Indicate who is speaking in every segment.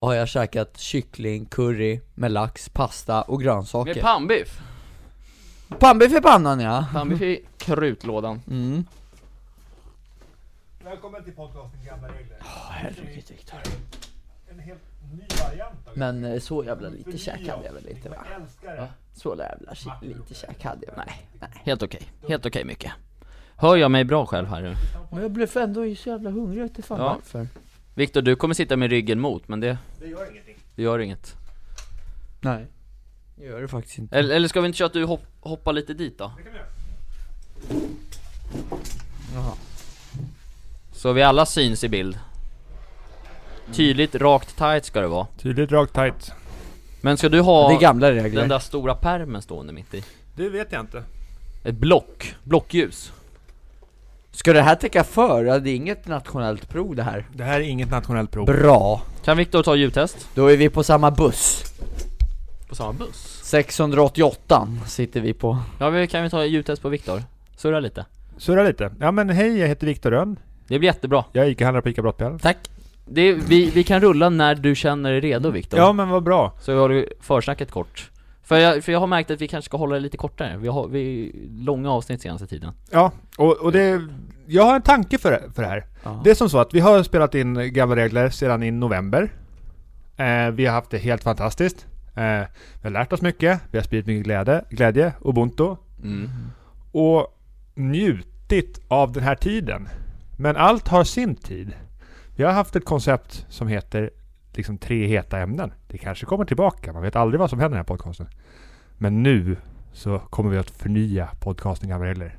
Speaker 1: har jag käkat kyckling, curry med lax, pasta och grönsaker.
Speaker 2: Med pannbiff!
Speaker 1: Pannbiff i pannan ja!
Speaker 2: Pannbiff i krutlådan.
Speaker 1: Mm.
Speaker 3: Välkommen till podcasten Gamla Regler.
Speaker 1: herregud, Viktor.
Speaker 3: En helt ny variant av
Speaker 1: Men eh, så jävla lite käk hade jag väl inte va?
Speaker 3: Jag älskar det.
Speaker 2: Va?
Speaker 1: Så jävla ki- lite käk hade jag väl Nej.
Speaker 2: Helt okej, helt okej mycket. Hör jag mig bra själv här nu?
Speaker 1: Men jag blev ändå så jävla hungrig, jag vet inte fan
Speaker 2: Ja.
Speaker 1: varför.
Speaker 2: Viktor, du kommer sitta med ryggen mot, men det,
Speaker 3: Det gör ingenting.
Speaker 2: det gör inget.
Speaker 1: Nej. Jag gör det faktiskt inte.
Speaker 2: Eller, eller ska vi inte köra att du hopp, hoppar lite dit då?
Speaker 3: Det kan vi göra.
Speaker 1: Jaha.
Speaker 2: Så vi alla syns i bild. Tydligt, rakt, tight ska det vara.
Speaker 4: Tydligt, rakt, tight.
Speaker 2: Men ska du
Speaker 1: Det är
Speaker 2: ha
Speaker 1: gamla regler.
Speaker 2: den där stora pärmen stående mitt i?
Speaker 4: Det vet jag inte.
Speaker 2: Ett block, blockljus.
Speaker 1: Ska det här täcka för? Ja, det är inget nationellt prov det här.
Speaker 4: Det här är inget nationellt prov.
Speaker 1: Bra.
Speaker 2: Kan Viktor ta ljudtest?
Speaker 1: Då är vi på samma buss.
Speaker 2: På samma buss?
Speaker 1: 688 sitter vi på.
Speaker 2: Ja, vi, kan vi ta ljudtest på Viktor? Surra lite.
Speaker 4: Surra lite. Ja men hej, jag heter Viktor Rönn.
Speaker 2: Det blir jättebra.
Speaker 4: Jag är ICA-handlare på ICA Brottbjärn.
Speaker 2: Tack. Det, vi, vi kan rulla när du känner dig redo Viktor.
Speaker 4: Ja men vad bra.
Speaker 2: Så vi håller försnacket kort. För jag, för jag har märkt att vi kanske ska hålla det lite kortare. Vi har vi, långa avsnitt senaste tiden.
Speaker 4: Ja, och, och det... Jag har en tanke för, det- för det här.
Speaker 1: Ja.
Speaker 4: Det är som så att vi har spelat in gamla regler sedan i november. Eh, vi har haft det helt fantastiskt. Eh, vi har lärt oss mycket, vi har spridit mycket glädje, glädje ubuntu.
Speaker 2: Mm.
Speaker 1: Mm.
Speaker 4: Och njutit av den här tiden. Men allt har sin tid. Vi har haft ett koncept som heter liksom tre heta ämnen. Det kanske kommer tillbaka, man vet aldrig vad som händer i den här podcasten. Men nu så kommer vi att förnya podcasten Gamla Regler.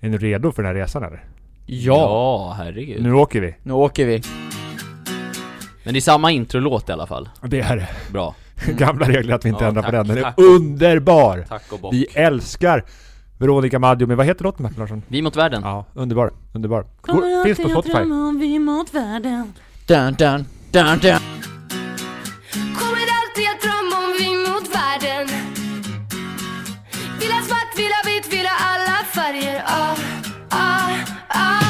Speaker 4: Är ni redo för den här resan eller?
Speaker 2: Ja, herregud.
Speaker 4: Nu åker vi!
Speaker 1: Nu åker vi.
Speaker 2: Men det är samma introlåt i alla fall.
Speaker 4: Det är det.
Speaker 2: Bra.
Speaker 4: Gamla regler att vi inte
Speaker 2: Ja,
Speaker 4: ändrar på
Speaker 2: tack,
Speaker 4: den. Den är
Speaker 2: tack.
Speaker 4: underbar!
Speaker 2: Tack och bock.
Speaker 4: Vi älskar Veronica Maggio med, vad heter låten Martin Larsson?
Speaker 2: Vi mot världen.
Speaker 4: Ja, underbar, underbar. Går, finns på Spotify.
Speaker 5: vi mot världen
Speaker 1: Dun, dun, dun, dun.
Speaker 5: Kommer alltid att drömma om vi mot världen Vill ha svart, vill ha vitt, vill ha alla färger ah, ah, ah.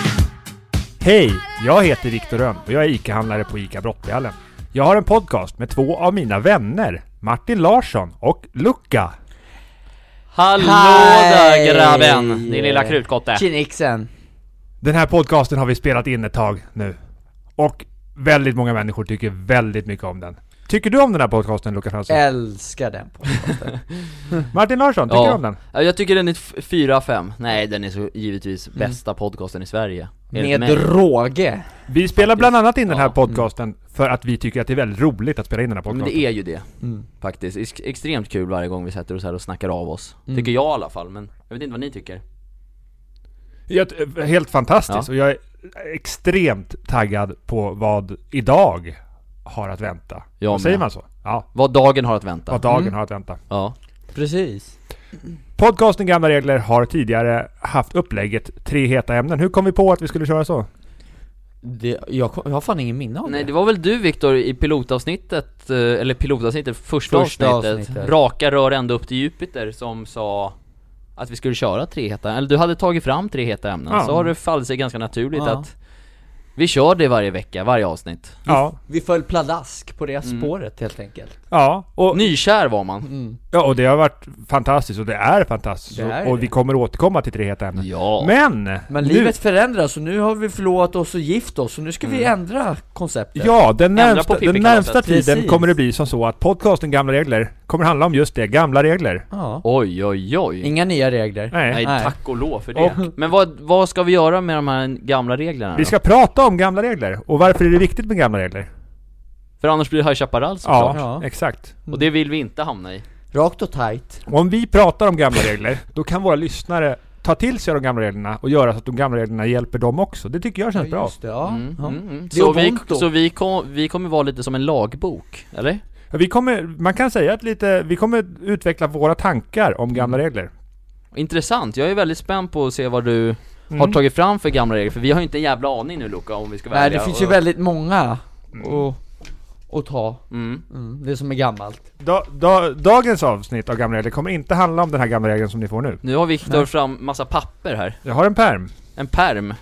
Speaker 4: Hej! Jag heter Viktor Rönn och jag är ICA-handlare på ICA Brottbjällen. Jag har en podcast med två av mina vänner, Martin Larsson och Luca.
Speaker 2: Hallå
Speaker 1: Hej!
Speaker 2: där grabben! Din lilla krutkotte.
Speaker 1: Kinixen.
Speaker 4: Den här podcasten har vi spelat in ett tag nu. Och väldigt många människor tycker väldigt mycket om den. Tycker du om den här podcasten Luca Fransson?
Speaker 2: Eh,
Speaker 1: Älskar den podcasten.
Speaker 4: Martin Larsson, tycker du om den?
Speaker 2: Ja, jag tycker den är f- 4 av Mm. 5. Nej, den är så givetvis bästa podcasten i Sverige. Enligt
Speaker 1: Med
Speaker 2: mig.
Speaker 1: råge.
Speaker 4: Vi spelar bland annat in den här
Speaker 2: Ja. mm.
Speaker 4: podcasten för att vi tycker att det är väldigt roligt att spela in den här
Speaker 2: Ja, Men
Speaker 4: podcasten.
Speaker 2: det är ju det,
Speaker 1: Mm.
Speaker 2: faktiskt. Ex- extremt kul varje gång vi sätter oss här och snackar av oss. Tycker jag i alla fall, men jag vet inte vad ni tycker.
Speaker 4: Jag t- eh, Helt fantastiskt
Speaker 2: Ja.
Speaker 4: och jag är extremt taggad på vad idag har att vänta.
Speaker 2: Jag
Speaker 4: Vad säger
Speaker 2: med.
Speaker 4: man så? Ja,
Speaker 2: Vad dagen har att vänta.
Speaker 4: vad dagen
Speaker 1: Mm.
Speaker 4: har att vänta.
Speaker 2: Ja.
Speaker 1: Precis.
Speaker 4: Podcasten Gamla Regler har tidigare haft upplägget tre heta ämnen. Hur kom vi på att vi skulle köra så?
Speaker 1: Det, jag, kom- jag har fan ingen minne av
Speaker 2: Nej, det
Speaker 1: det.
Speaker 2: var väl du Viktor i pilotavsnittet, eh, eller pilotavsnittet, första,
Speaker 1: Första
Speaker 2: avsnittet,
Speaker 1: avsnittet.
Speaker 2: Raka rör ända upp till Jupiter, som sa att vi skulle köra tre heta, eller du hade tagit fram tre heta ämnen,
Speaker 4: Ja.
Speaker 2: så har det fallit sig ganska naturligt
Speaker 1: Ja.
Speaker 2: att vi kör det varje vecka, varje avsnitt.
Speaker 4: Ja,
Speaker 1: Vi föll pladask på det spåret helt enkelt.
Speaker 4: ja och,
Speaker 2: Nykär var man.
Speaker 4: ja, och det har varit fantastiskt och det är fantastiskt.
Speaker 1: Det är
Speaker 4: och, och
Speaker 1: det.
Speaker 4: vi kommer återkomma till tre heta ämnen.
Speaker 2: Ja.
Speaker 4: Men!
Speaker 1: Men
Speaker 4: nu-
Speaker 1: livet förändras och nu har vi förlovat oss och gift oss och nu ska vi ändra konceptet.
Speaker 4: Ja, den
Speaker 2: Ändra på
Speaker 4: närmsta, den
Speaker 2: pippikalaset.
Speaker 4: närmsta tiden
Speaker 1: Precis.
Speaker 4: kommer det bli som så att podcasten Gamla Regler kommer handla om just det, gamla regler.
Speaker 1: Ja.
Speaker 2: Oj, oj, oj.
Speaker 1: Inga nya regler.
Speaker 4: Nej.
Speaker 2: Nej,
Speaker 1: Nej.
Speaker 2: tack och lov för det.
Speaker 4: Och-
Speaker 2: Men vad, vad ska vi göra med de här gamla reglerna
Speaker 4: Vi
Speaker 2: då?
Speaker 4: ska prata om gamla regler och varför är det viktigt med gamla regler?
Speaker 2: För annars blir det High Chaparral
Speaker 4: Ja,
Speaker 2: såklart.
Speaker 1: Ja.
Speaker 4: exakt.
Speaker 2: Och det vill vi inte hamna i.
Speaker 1: Rakt och tight.
Speaker 4: Och om vi pratar om gamla regler, då kan våra lyssnare ta till sig de gamla reglerna och göra så att de gamla reglerna hjälper dem också. Det tycker jag känns bra.
Speaker 1: Just det, ja.
Speaker 2: Mm,
Speaker 1: ja.
Speaker 2: mm, mm.
Speaker 1: Det är
Speaker 2: Så, vi,
Speaker 1: Ubuntu.
Speaker 2: så vi, kom, vi kommer vara lite som en lagbok, eller?
Speaker 4: Ja, Vi kommer, man kan säga att lite, vi kommer utveckla våra tankar om gamla regler.
Speaker 2: Intressant, jag är väldigt spänd på att se vad du har tagit fram för gamla regler, för vi har ju inte en jävla aning nu Luca om vi ska välja
Speaker 1: Nej, det finns ju
Speaker 2: och-
Speaker 1: väldigt många Mm. att, att ta.
Speaker 2: mm.
Speaker 1: Mm, det som är gammalt.
Speaker 4: Da, da, dagens avsnitt av gamla regler kommer inte handla om den här gamla regeln som ni får nu.
Speaker 2: Nu har Viktor
Speaker 1: Nej.
Speaker 2: fram massa papper här,
Speaker 4: Jag har en perm.
Speaker 2: en perm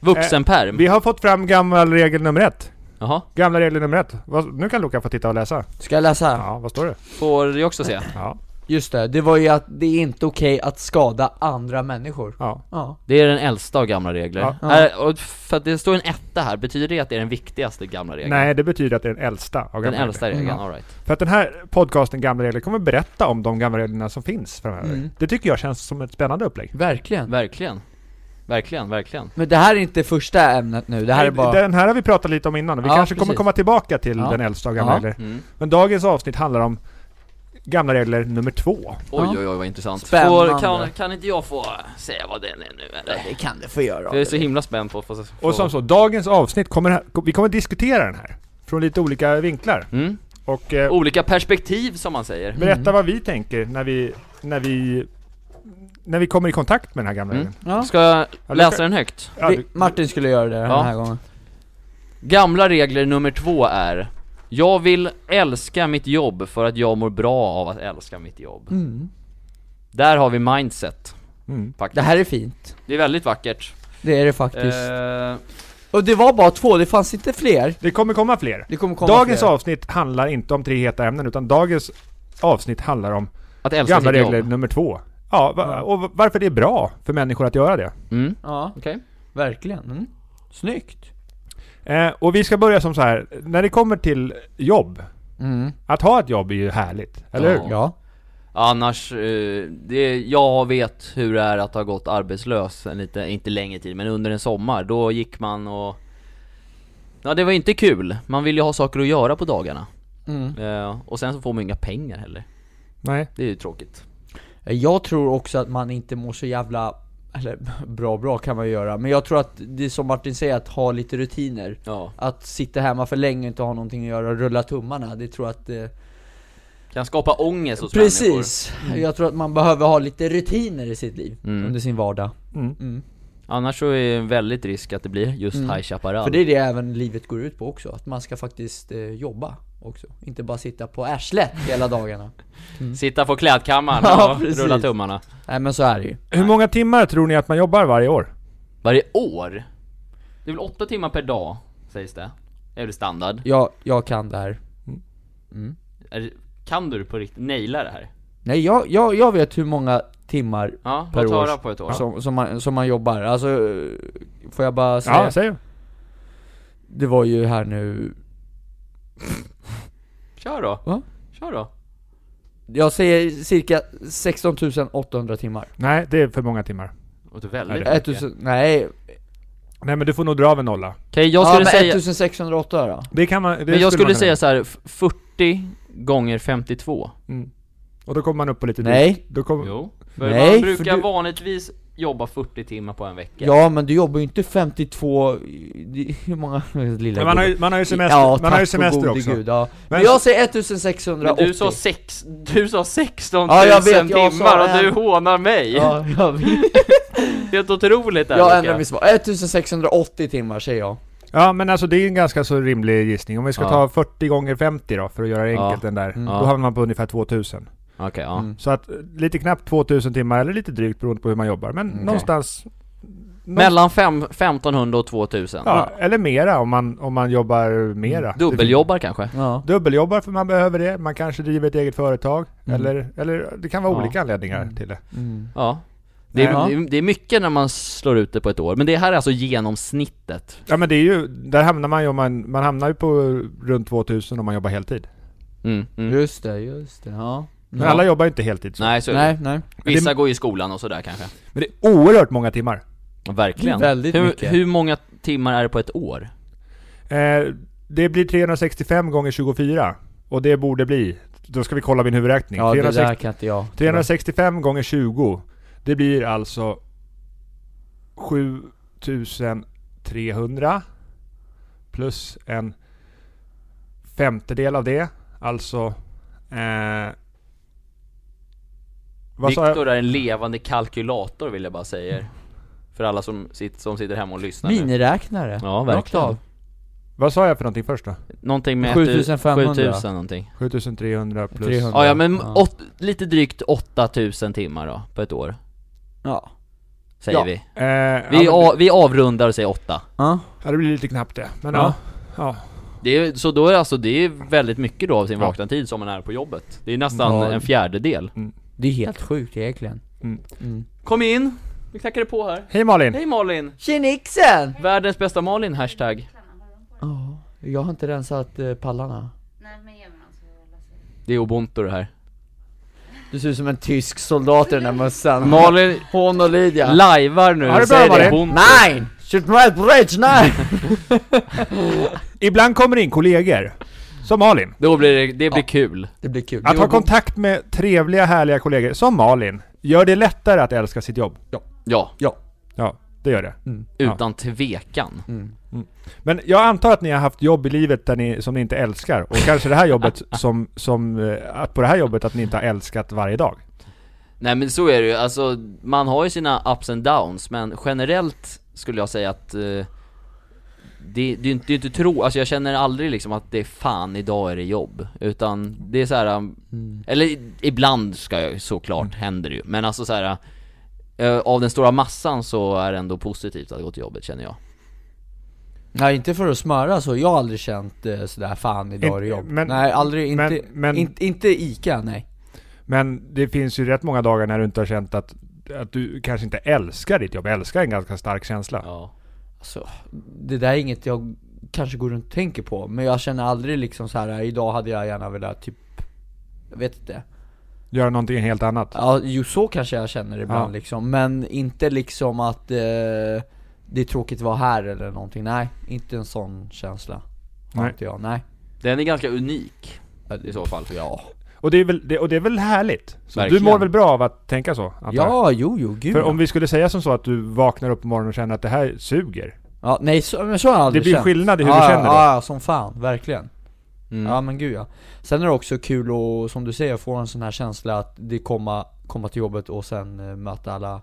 Speaker 2: Vuxenperm,
Speaker 4: Eh, Vi har fått fram gammal regel nummer ett.
Speaker 2: Jaha,
Speaker 4: Gamla regler nummer ett. Vad- Nu kan Luca få titta och läsa.
Speaker 1: Ska jag läsa?
Speaker 4: Ja, vad står det?
Speaker 2: får jag också se?
Speaker 4: Ja.
Speaker 1: Just det, det var ju att det är inte okej att skada andra människor.
Speaker 4: ja.
Speaker 1: Ja.
Speaker 2: Det är den äldsta av gamla regler.
Speaker 4: Ja.
Speaker 2: Är, och för att det står en etta här, betyder det att det är den viktigaste gamla regeln?
Speaker 4: Nej, det betyder att det är den äldsta av
Speaker 2: Den
Speaker 4: gamla
Speaker 2: äldsta
Speaker 4: regler.
Speaker 2: regeln,
Speaker 4: Ja.
Speaker 2: alright.
Speaker 4: För att den här podcasten Gamla regler kommer berätta om de gamla reglerna som finns framöver.
Speaker 1: Mm.
Speaker 4: Det tycker jag känns som ett spännande upplägg.
Speaker 1: Verkligen.
Speaker 2: Verkligen. Verkligen, verkligen.
Speaker 1: Men det här är inte första ämnet nu, det här är bara...
Speaker 4: Eh, Den här har vi pratat lite om innan och vi
Speaker 1: Ja,
Speaker 4: kanske kommer
Speaker 1: precis.
Speaker 4: komma tillbaka till
Speaker 1: Ja.
Speaker 4: den äldsta av gamla
Speaker 1: Ja.
Speaker 4: regler.
Speaker 2: Mm.
Speaker 4: Men dagens avsnitt handlar om gamla regler nummer två.
Speaker 2: Oj,
Speaker 1: Ja.
Speaker 2: oj, oj vad intressant.
Speaker 1: Spännande.
Speaker 2: Får, kan, kan inte jag få säga vad den är nu eller?
Speaker 1: Det kan du få göra.
Speaker 2: Jag är så himla spänd på att få... få-
Speaker 4: Och som så, dagens avsnitt kommer, här- vi kommer diskutera den här. Från lite olika vinklar.
Speaker 2: Mm.
Speaker 4: Och eh,
Speaker 2: Olika perspektiv som man säger.
Speaker 4: berätta vad vi tänker när vi, när vi, när vi kommer i kontakt med den här gamla
Speaker 2: Mm.
Speaker 4: regeln.
Speaker 1: Ja.
Speaker 2: Ska jag
Speaker 4: kan-
Speaker 2: läsa den högt?
Speaker 4: Ja,
Speaker 1: Vi,
Speaker 4: du-
Speaker 1: Martin skulle göra det den
Speaker 2: Ja.
Speaker 1: här gången.
Speaker 2: Gamla regler nummer två är Jag vill älska mitt jobb för att jag mår bra av att älska mitt jobb.
Speaker 1: Mm.
Speaker 2: Där har vi mindset.
Speaker 4: Mm.
Speaker 2: Faktiskt.
Speaker 1: Det här är fint.
Speaker 2: Det är väldigt vackert.
Speaker 1: Det är det faktiskt.
Speaker 2: Eh,
Speaker 1: Och det var bara två, det fanns inte fler.
Speaker 4: Det kommer komma fler.
Speaker 1: Det kommer komma
Speaker 4: Dagens
Speaker 1: fler.
Speaker 4: avsnitt handlar inte om tre heta ämnen utan dagens avsnitt handlar om
Speaker 2: att älska
Speaker 4: gamla
Speaker 2: sitt
Speaker 4: regler
Speaker 2: jobb.
Speaker 4: nummer två. Ja, va- och varför det är bra för människor att göra det.
Speaker 2: Mm.
Speaker 1: Ja,
Speaker 2: Okej.
Speaker 1: verkligen. Mm. Snyggt.
Speaker 4: Eh, och vi ska börja som så här, när det kommer till jobb.
Speaker 1: Mm.
Speaker 4: Att ha ett jobb är ju härligt, eller hur?
Speaker 2: Ja.
Speaker 1: Ja.
Speaker 2: Annars, eh, det, jag vet hur det är att ha gått arbetslös en lite, inte längre tid, men under en sommar. Då gick man och... Ja det var inte kul, man vill ju ha saker att göra på dagarna.
Speaker 1: Mm.
Speaker 2: Eh, och sen så får man ju inga pengar heller.
Speaker 4: Nej.
Speaker 2: Det är ju tråkigt.
Speaker 1: Jag tror också att man inte mår så jävla, eller bra bra kan man ju göra, men jag tror att det är som Martin säger, att ha lite rutiner.
Speaker 2: Ja.
Speaker 1: Att sitta hemma för länge och inte ha någonting att göra och rulla tummarna, det tror jag att eh, det...
Speaker 2: Kan skapa ångest hos människor.
Speaker 1: Precis! Jag tror att man behöver ha lite rutiner i sitt liv,
Speaker 2: Mm.
Speaker 1: under sin vardag.
Speaker 4: Mm.
Speaker 1: Mm.
Speaker 2: Annars så är det en väldigt risk att det blir just
Speaker 1: Mm.
Speaker 2: High Chaparral.
Speaker 1: För det är det även livet går ut på också, att man ska faktiskt eh, jobba också. Inte bara sitta på arslet hela dagarna.
Speaker 2: Sitta på klädkammaren
Speaker 1: Ja,
Speaker 2: och
Speaker 1: precis.
Speaker 2: rulla tummarna.
Speaker 1: Nej men så är det ju.
Speaker 4: Hur många timmar tror ni att man jobbar varje år?
Speaker 2: Varje år? Det är väl åtta timmar per dag, sägs det. Är det standard?
Speaker 1: Jag, jag kan det här.
Speaker 2: Är, det- kan du på riktigt naila det här?
Speaker 1: Nej jag, jag, jag vet hur många timmar
Speaker 2: Ja,
Speaker 1: Per
Speaker 2: låt
Speaker 1: år.
Speaker 2: höra på ett år.
Speaker 1: som, som, man, som man jobbar. Alltså, eh, får jag bara säga?
Speaker 4: Ja, säg.
Speaker 1: det var ju här nu...
Speaker 2: Kör då.
Speaker 1: Va?
Speaker 2: Kör då.
Speaker 1: Jag säger cirka 16 800 timmar.
Speaker 4: Nej, det är för många timmar.
Speaker 2: Och du väldigt
Speaker 4: Ja,
Speaker 2: mycket.
Speaker 1: 1000, nej,
Speaker 4: Nej men du får nog dra av en nolla.
Speaker 2: Okej, jag
Speaker 1: ja,
Speaker 2: skulle
Speaker 1: men
Speaker 2: säga...
Speaker 1: 1608 då.
Speaker 4: Det kan man, det
Speaker 2: men jag skulle
Speaker 4: man kunna
Speaker 2: säga så här, f- 40 gånger 52.
Speaker 4: Mm. Och då kommer man upp på lite
Speaker 1: Nej.
Speaker 4: drygt. Då kommer-
Speaker 2: Jo. För
Speaker 1: Nej,
Speaker 2: man
Speaker 1: för
Speaker 2: brukar
Speaker 1: du-
Speaker 2: vanligtvis jobba 40 timmar på en vecka.
Speaker 1: Ja men du jobbar ju inte 52, det- hur många, lilla
Speaker 4: Men man har
Speaker 1: gubben.
Speaker 4: ju, man har ju semester,
Speaker 1: ja,
Speaker 4: man har
Speaker 1: tack
Speaker 4: ju
Speaker 1: och
Speaker 4: semester
Speaker 1: gode
Speaker 4: också.
Speaker 1: Gud, ja.
Speaker 4: Men
Speaker 1: Men jag
Speaker 4: så-
Speaker 1: säger 1680
Speaker 2: Men du sa, sex, du sa 16 000
Speaker 1: Ja, jag vet, jag sa
Speaker 2: timmar och
Speaker 1: en.
Speaker 2: du hånar mig!
Speaker 1: Ja, jag, vet.
Speaker 2: Helt otroligt där
Speaker 1: jag
Speaker 2: Luca.
Speaker 1: ändrar mitt svar. 1680 timmar säger jag.
Speaker 4: Ja men alltså det är en ganska så rimlig gissning. Om vi ska
Speaker 2: Ja.
Speaker 4: ta 40 gånger 50 då för att göra det
Speaker 2: Ja.
Speaker 4: enkelt den där.
Speaker 1: Mm.
Speaker 4: Då
Speaker 2: Ja.
Speaker 4: hamnar man på ungefär 2000.
Speaker 2: Okej, ja.
Speaker 1: Mm.
Speaker 4: Så att eh, lite knappt 2000 timmar eller lite drygt beroende på hur man jobbar. Men
Speaker 1: Mm.
Speaker 4: någonstans...
Speaker 2: Mellan fem, 1500 och 2000.
Speaker 4: Ja, eller mera om man, om man jobbar mera.
Speaker 2: Mm. Dubbeljobbar kanske?
Speaker 1: Ja.
Speaker 4: Dubbeljobbar för man behöver det. Man kanske driver ett eget företag.
Speaker 1: Mm.
Speaker 4: Eller, eller det kan vara
Speaker 2: Ja.
Speaker 4: olika anledningar
Speaker 1: Mm.
Speaker 4: till det.
Speaker 1: Mm.
Speaker 2: Ja. Det är,
Speaker 1: Ja.
Speaker 2: det är- det är mycket när man slår ut det på ett år, men det här är alltså genomsnittet.
Speaker 4: Ja men det är ju, där hamnar man ju om man, man hamnar ju på runt 2000 om man jobbar heltid.
Speaker 2: Mm, mm.
Speaker 1: Just det, just det, ja.
Speaker 4: Men alla jobbar ju inte heltid så.
Speaker 2: Nej, så är det.
Speaker 1: Nej, nej.
Speaker 2: Vissa går ju i skolan och sådär kanske.
Speaker 4: Men det är oerhört många timmar.
Speaker 2: Verkligen.
Speaker 1: Det är väldigt
Speaker 2: hur,
Speaker 1: mycket.
Speaker 2: hur många timmar är det på ett år?
Speaker 4: Eh, det blir 365 gånger 24. Och det borde bli, då ska vi kolla min huvudräkning.
Speaker 1: Ja det
Speaker 4: 360
Speaker 1: där kan inte jag.
Speaker 4: 365 gånger 20. Det blir alltså 7300 plus en femtedel av det. Alltså... Eh, vad sa jag?
Speaker 2: Viktor är en levande kalkylator vill jag bara säga. För alla som, sit, som sitter hemma och lyssnar nu.
Speaker 1: Miniräknare.
Speaker 2: Ja,
Speaker 1: Rakt
Speaker 2: verkligen.
Speaker 1: av.
Speaker 4: Vad sa jag för någonting först då?
Speaker 2: Någonting med
Speaker 1: 7500.
Speaker 2: 7000 någonting.
Speaker 4: 7300 plus...
Speaker 1: 300.
Speaker 2: Ja, ja men
Speaker 1: Ja.
Speaker 2: Åt, lite drygt 8000 timmar då, på ett år.
Speaker 1: Ja.
Speaker 2: Säger
Speaker 1: Ja.
Speaker 2: vi.
Speaker 4: Eh, ja,
Speaker 2: Vi,
Speaker 4: men-
Speaker 2: a, vi avrundar och säger 8.
Speaker 1: Ja.
Speaker 4: Ja, det blir lite knappt det. Men
Speaker 1: Ja.
Speaker 4: ja. ja.
Speaker 2: Det är, så då är alltså, det är väldigt mycket då av sin vakna tid som man är på jobbet. Det är nästan
Speaker 1: Ja.
Speaker 2: en fjärdedel.
Speaker 1: Det är helt sjukt egentligen.
Speaker 4: Mm.
Speaker 1: Mm.
Speaker 2: Kom in! Vi knackade på här.
Speaker 4: Hej Malin!
Speaker 2: Hej Malin!
Speaker 1: Tjenixen!
Speaker 2: Världens bästa Malin, hashtag.
Speaker 1: Ja, jag har inte rensat eh, pallarna.
Speaker 6: Nej men ge mig någon så jag läser.
Speaker 2: Det är ubuntu det här.
Speaker 1: Du ser ut som en tysk soldat i den där mössan.
Speaker 2: Malin
Speaker 1: Hon och Lydia.
Speaker 2: lajvar nu,
Speaker 4: Ja, det är
Speaker 2: och
Speaker 4: bra,
Speaker 2: säger det
Speaker 4: Malin.
Speaker 2: ubuntu.
Speaker 1: Nein! Shoot my bridge, nej!
Speaker 4: Ibland kommer det in kollegor. Som Malin.
Speaker 2: Då blir det, det blir kul.
Speaker 1: Det blir kul.
Speaker 4: Att ha kontakt med trevliga, härliga kollegor, som Malin, gör det lättare att älska sitt jobb.
Speaker 2: Ja,
Speaker 4: Ja, det gör det.
Speaker 2: utan tvekan.
Speaker 1: Mm.
Speaker 4: Men jag antar att ni har haft jobb i livet där ni, som ni inte älskar. Och kanske det här jobbet som, som eh, att på det här jobbet att ni inte har älskat varje dag.
Speaker 2: Nej men så är det ju, alltså man har ju sina ups and downs men generellt skulle jag säga att eh, det, det, är inte- det är inte tro, alltså jag känner aldrig liksom att det är fan idag är det jobb Utan det är så här. um, eller i- ibland ska jag såklart, händer det ju Men alltså så här. eh, av den stora massan så är det ändå positivt att gå till jobbet känner jag
Speaker 1: Nej inte för att smöra så, jag har aldrig känt eh, sådär fan idag är det
Speaker 4: Inte-
Speaker 1: jobb.
Speaker 4: men-
Speaker 1: nej aldrig, inte,
Speaker 4: men- men-
Speaker 1: inte, inte ICA nej.
Speaker 4: Men det finns ju rätt många dagar när du inte har känt att, att du kanske inte älskar ditt jobb. Älskar är en ganska stark känsla.
Speaker 2: Ja,
Speaker 1: Alltså, det där är inget jag kanske går runt och tänker på, men jag känner aldrig liksom så här idag hade jag gärna velat typ, jag vet inte.
Speaker 4: Göra någonting helt annat.
Speaker 1: Ja, jo så kanske jag känner ibland
Speaker 4: Ja.
Speaker 1: liksom, men inte liksom att eh, det är tråkigt att vara här eller någonting, nej. Inte en sån känsla. Har
Speaker 4: Nej.
Speaker 1: inte jag, nej.
Speaker 2: den är ganska unik i så fall
Speaker 1: Ja.
Speaker 4: Och det är väl, det, och det är väl härligt? Så du
Speaker 2: Verkligen.
Speaker 4: mår väl bra av att tänka så? antar jag?
Speaker 1: Ja, jo, jo, gud
Speaker 4: För
Speaker 1: ja.
Speaker 4: om vi skulle säga som så att du vaknar upp på morgonen och känner att det här suger.
Speaker 1: ja. Nej, så, men så har jag
Speaker 4: Det
Speaker 1: aldrig
Speaker 4: blir
Speaker 1: känt. Ah,
Speaker 4: skillnad i hur
Speaker 1: ja,
Speaker 4: du känner då.
Speaker 1: ja, ja, som fan, verkligen.
Speaker 2: mm.
Speaker 1: Ja men gud ja. Sen är det också kul och som du säger, få en sån här känsla att det komma, komma till jobbet och sen eh, möta alla